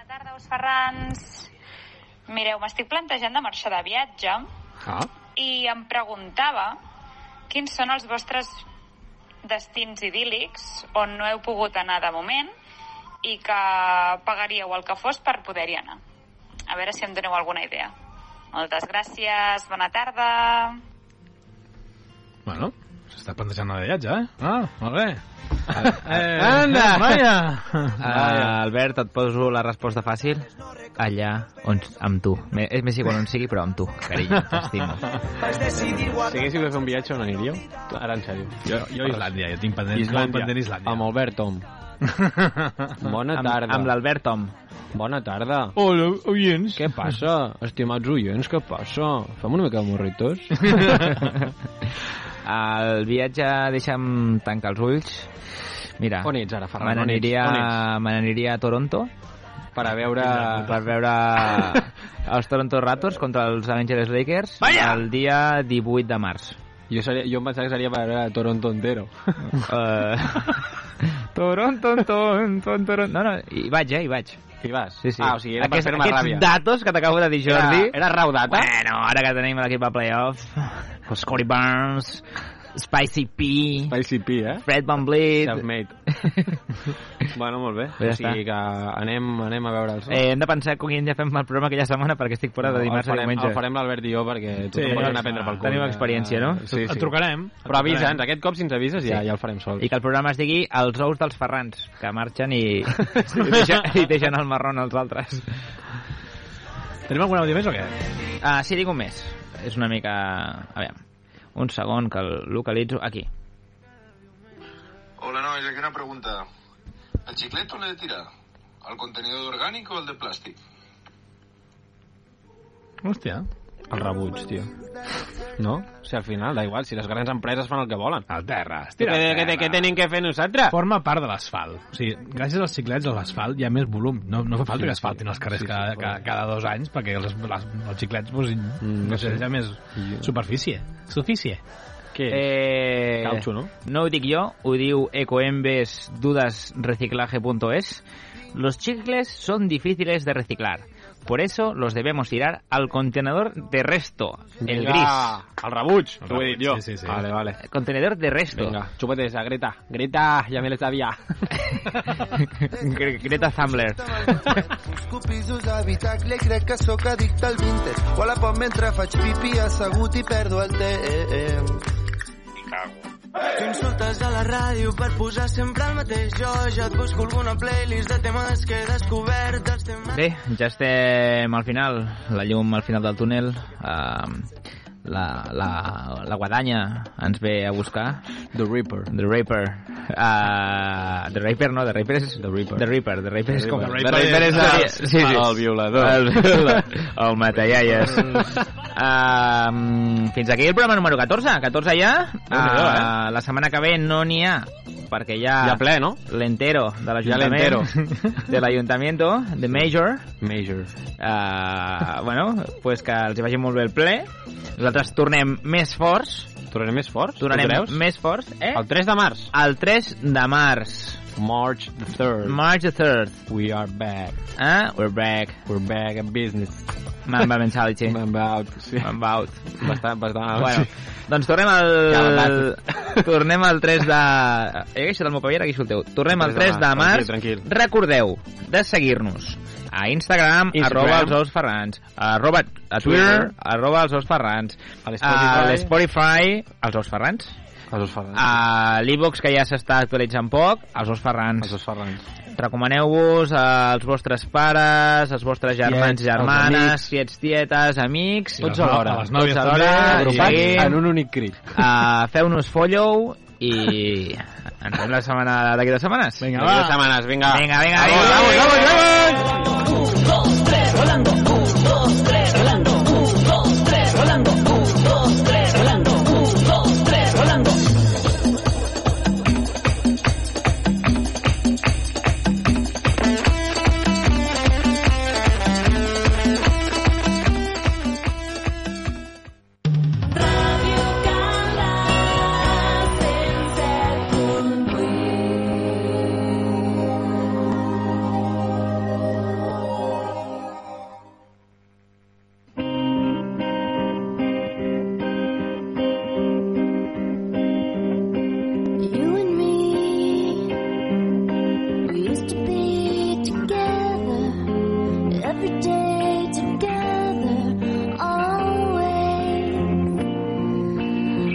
Speaker 14: Carlos Ferrans. Mireu, m'estic plantejant de marxar de viatge
Speaker 4: Ah.
Speaker 14: i em preguntava quins són els vostres destins idíl·lics on no heu pogut anar de moment i que pagaríeu el que fos per poder-hi anar. A veure si em doneu alguna idea. Moltes gràcies, bona tarda.
Speaker 4: Bueno, s'està plantejant una viatge, eh? Ah, molt bé.
Speaker 2: Eh,
Speaker 4: Anda, vaja.
Speaker 2: Uh, Albert, et poso la resposta fàcil. Allà, on, amb tu. Me- És més igual on sigui, però amb tu, carinyo, t'estimo.
Speaker 5: Si haguéssiu de fer un viatge, on aniríeu? Ara, en sèrio. Jo,
Speaker 4: jo a Islàndia, jo tinc pendent- molt pendent Islàndia.
Speaker 5: Amb Albert Tom. Bona
Speaker 2: Amb-
Speaker 5: tarda.
Speaker 2: amb l'Albert Tom.
Speaker 5: Bona tarda. Hola, oients. Què passa? Estimats oients, què passa? Fem una mica de morritos?
Speaker 2: El viatge, deixa'm tancar els ulls. Mira,
Speaker 5: On ets ara, Ferran?
Speaker 2: me
Speaker 5: On ets?
Speaker 2: n'aniria
Speaker 5: On ets? Ah,
Speaker 2: me n'aniria a Toronto eh,
Speaker 5: per a veure...
Speaker 2: Per veure els Toronto Raptors contra els Angeles Lakers Vaya! el dia 18 de març.
Speaker 5: Jo, seria, jo em pensava que seria per veure Toronto entero.
Speaker 2: Uh, Toronto, Toronto, Toronto... No, no, hi vaig, eh, hi vaig.
Speaker 5: Hi vas?
Speaker 2: Sí, sí.
Speaker 5: Ah, o sigui, era per fer-me
Speaker 2: aquests
Speaker 5: ràbia.
Speaker 2: datos que t'acabo de dir, Jordi...
Speaker 5: Era- era rau data?
Speaker 2: Bueno, ara que tenim l'equip a playoff, pues Scotty Barnes, Spicy P...
Speaker 5: Spicy P, eh?
Speaker 2: Fred Van Bleed...
Speaker 5: bueno, molt bé.
Speaker 2: Pues ja
Speaker 5: o sigui que anem, anem a veure els...
Speaker 2: Eh, hem de pensar que ja fem el programa aquella setmana perquè estic fora de dimarts
Speaker 5: el
Speaker 2: a
Speaker 5: farem,
Speaker 2: diumenge.
Speaker 5: El farem l'Albert i jo perquè
Speaker 2: Sí,
Speaker 5: tothom sí, pot anar
Speaker 2: clar.
Speaker 5: a prendre pel cul. eh.
Speaker 2: Tenim experiència, no?
Speaker 5: Sí,
Speaker 2: Et
Speaker 5: sí.
Speaker 2: trucarem. Et
Speaker 5: Però
Speaker 2: trucarem.
Speaker 5: avisa'ns, aquest cop si ens avises ja,
Speaker 2: Sí.
Speaker 5: ja el farem sol.
Speaker 2: I que el programa es digui Els ous dels Ferrans, que marxen i, i, deixen, i deixen el marrón als altres.
Speaker 4: Tenim algun àudio més o què?
Speaker 2: Ah, sí, dic un més. És una mica... A veure, un segon que el localitzo. Aquí.
Speaker 15: Hola, nois, aquí una pregunta. ¿El chiclete le tira? ¿Al contenedor orgánico o al de plástico?
Speaker 4: Hòstia.
Speaker 5: El rebuig, tio. No? O sigui, al final, da igual, si les grans empreses fan el que volen.
Speaker 4: Al terra,
Speaker 5: Què,
Speaker 4: estira al
Speaker 5: què, què,
Speaker 4: terra.
Speaker 5: què tenim que fer nosaltres?
Speaker 4: Forma part de l'asfalt. O sigui, gràcies als xiclets a l'asfalt hi ha més volum. No, no fa falta que asfaltin els carrers cada, cada, cada dos anys perquè els, les, els xiclets pues, mm, no sé, hi ha més superfície. Superfície.
Speaker 5: Què
Speaker 2: Eh...
Speaker 4: Caucho, no?
Speaker 2: No ho dic jo, ho diu ecoembesdudasreciclaje.es. Los chicles son difíciles de reciclar. Por eso los debemos tirar al contenedor de resto, el
Speaker 5: Vinga,
Speaker 2: gris.
Speaker 5: El rebuig, t'ho he dit jo.
Speaker 2: Sí, sí, sí.
Speaker 5: Vale, vale.
Speaker 2: Contenedor de resto.
Speaker 5: Vinga, chúpate esa, Greta. Greta, ya me la sabía.
Speaker 2: Gre- Greta Thambler.
Speaker 16: Copisos d'habitacle, crec que sóc addicte al vintage. O a la pop mentre faig pipi assegut i perdo el temps.
Speaker 17: Tu insultes a la ràdio per posar sempre el mateix jo. Ja et busco alguna playlist de temes que he descobert, dels temes...
Speaker 2: Bé, ja estem al final. La llum al final del túnel. Eh, la, la, la guadanya ens ve a buscar.
Speaker 5: The Reaper.
Speaker 2: The Reaper. Uh, the Reaper no, The Reaper és... The Reaper. The Reaper, the Reaper és com...
Speaker 5: The Reaper. The Reaper és el- el violador.
Speaker 2: El, violador. el matallalles. Uh, fins aquí el programa número 14. 14 ja.
Speaker 5: Déu-n'hi-do, eh?
Speaker 2: Uh, la setmana que ve no n'hi ha, perquè ja...
Speaker 5: Hi ha ple, no?
Speaker 2: L'entero de l'Ajuntament.
Speaker 5: l'entero.
Speaker 2: De l'Ajuntamiento, de Major.
Speaker 5: Major.
Speaker 2: Uh, bueno, pues que els hi vagi molt bé el ple. Nosaltres tornem més forts.
Speaker 5: Tornarem més forts?
Speaker 2: Tornarem
Speaker 5: Tu creus?
Speaker 2: més forts, eh?
Speaker 5: El 3 de març.
Speaker 2: El 3 de març.
Speaker 5: March the 3rd.
Speaker 2: March the 3rd.
Speaker 5: We are back.
Speaker 2: Eh? We're back.
Speaker 5: We're back in business.
Speaker 2: Mamba mentality.
Speaker 5: Mamba out. Eh. Sí.
Speaker 2: Mamba out.
Speaker 5: Bastant, bastant out.
Speaker 2: Bueno, doncs tornem al... tornem al 3 de... He guixat el meu paper, ara guixo el teu. Tornem al 3 de març.
Speaker 5: Tranquil, tranquil.
Speaker 2: Recordeu de seguir-nos a Instagram,
Speaker 5: Instagram.
Speaker 2: arroba els ous ferrans, arroba a Twitter,
Speaker 5: Twitter.
Speaker 2: arroba els ous ferrans,
Speaker 5: A
Speaker 2: a
Speaker 5: l'Spotify.
Speaker 2: l'Spotify, els ous ferrans,
Speaker 5: Els dos Ferrans.
Speaker 2: a l'Evox, que ja s'està actualitzant poc, els ous ferrans.
Speaker 5: Ah, Els dos Ferrans.
Speaker 2: Recomaneu-vos als vostres pares, als vostres germans
Speaker 5: Tiets,
Speaker 2: i germanes,
Speaker 5: als
Speaker 2: tiets, tietes, amics...
Speaker 5: Tots alhora.
Speaker 2: A les
Speaker 5: Tots
Speaker 2: nòvies
Speaker 5: alhora,
Speaker 2: també,
Speaker 5: agrupats
Speaker 2: seguim.
Speaker 5: en un únic crit.
Speaker 2: Uh, Feu-nos follow i ens veiem la setmana d'aquí dues setmanes. Vinga,
Speaker 5: D'aquí dues setmanes, vinga.
Speaker 2: Vinga, vinga,
Speaker 5: Vamos,
Speaker 2: vinga.
Speaker 5: vamos, vamos, vamos.
Speaker 6: You and me, we used to be together every day, together, always.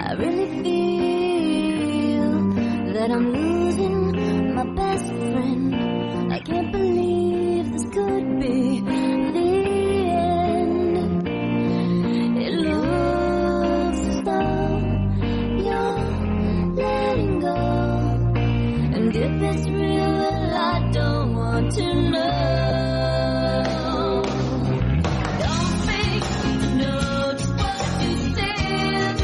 Speaker 6: I really feel that I'm losing my best friend. I can't believe this could be the end. It looks as though you're letting go. And if it's real, well, I don't want to know. Don't make me know just what you said.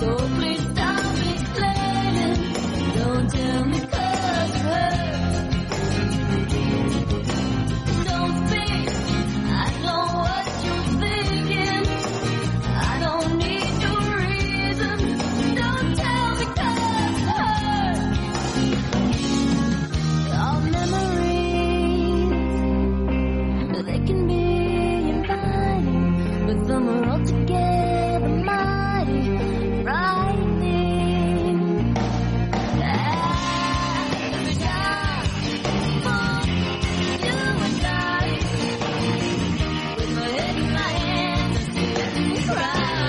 Speaker 6: So please stop explaining. Don't tell me 'cause you hurt. Don't speak. I know what you're thinking. I don't need your reason. Don't tell me 'cause it hurts. All memories, they can be inviting, but some are altogether mighty frightening. As we die, for you and I, with my head in my hands, I sit and cry.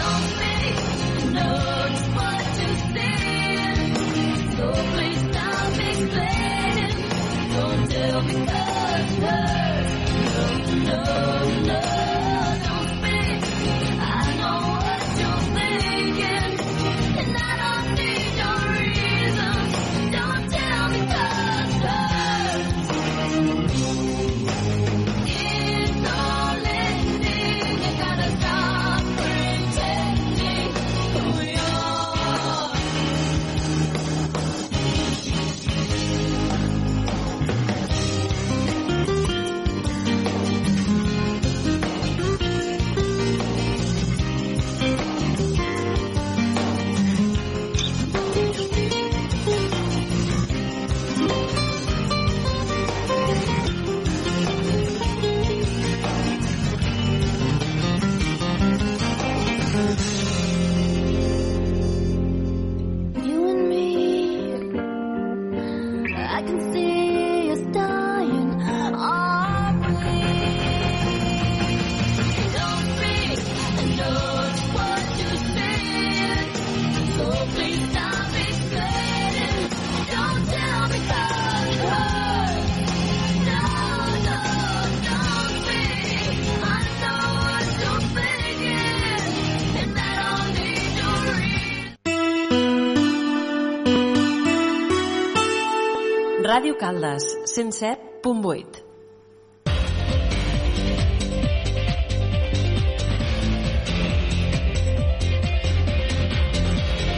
Speaker 6: Don't make me know just what to say, so please stop explaining. Don't tell me 'cause it hurts. No, no, no, don't speak. I know what you're thinking, and I don't need your reason. Don't tell me 'cause it hurts. It's all ending. You gotta stop pretending we are. You and me, I can see us dying, aren't we? Don't speak, I know it's what you said. So please stop explaining. Don't tell me 'cause it hurts. No, no, don't speak. I know what you're thinking, and I don't need your reason.
Speaker 18: Ràdio Caldes, 107.8.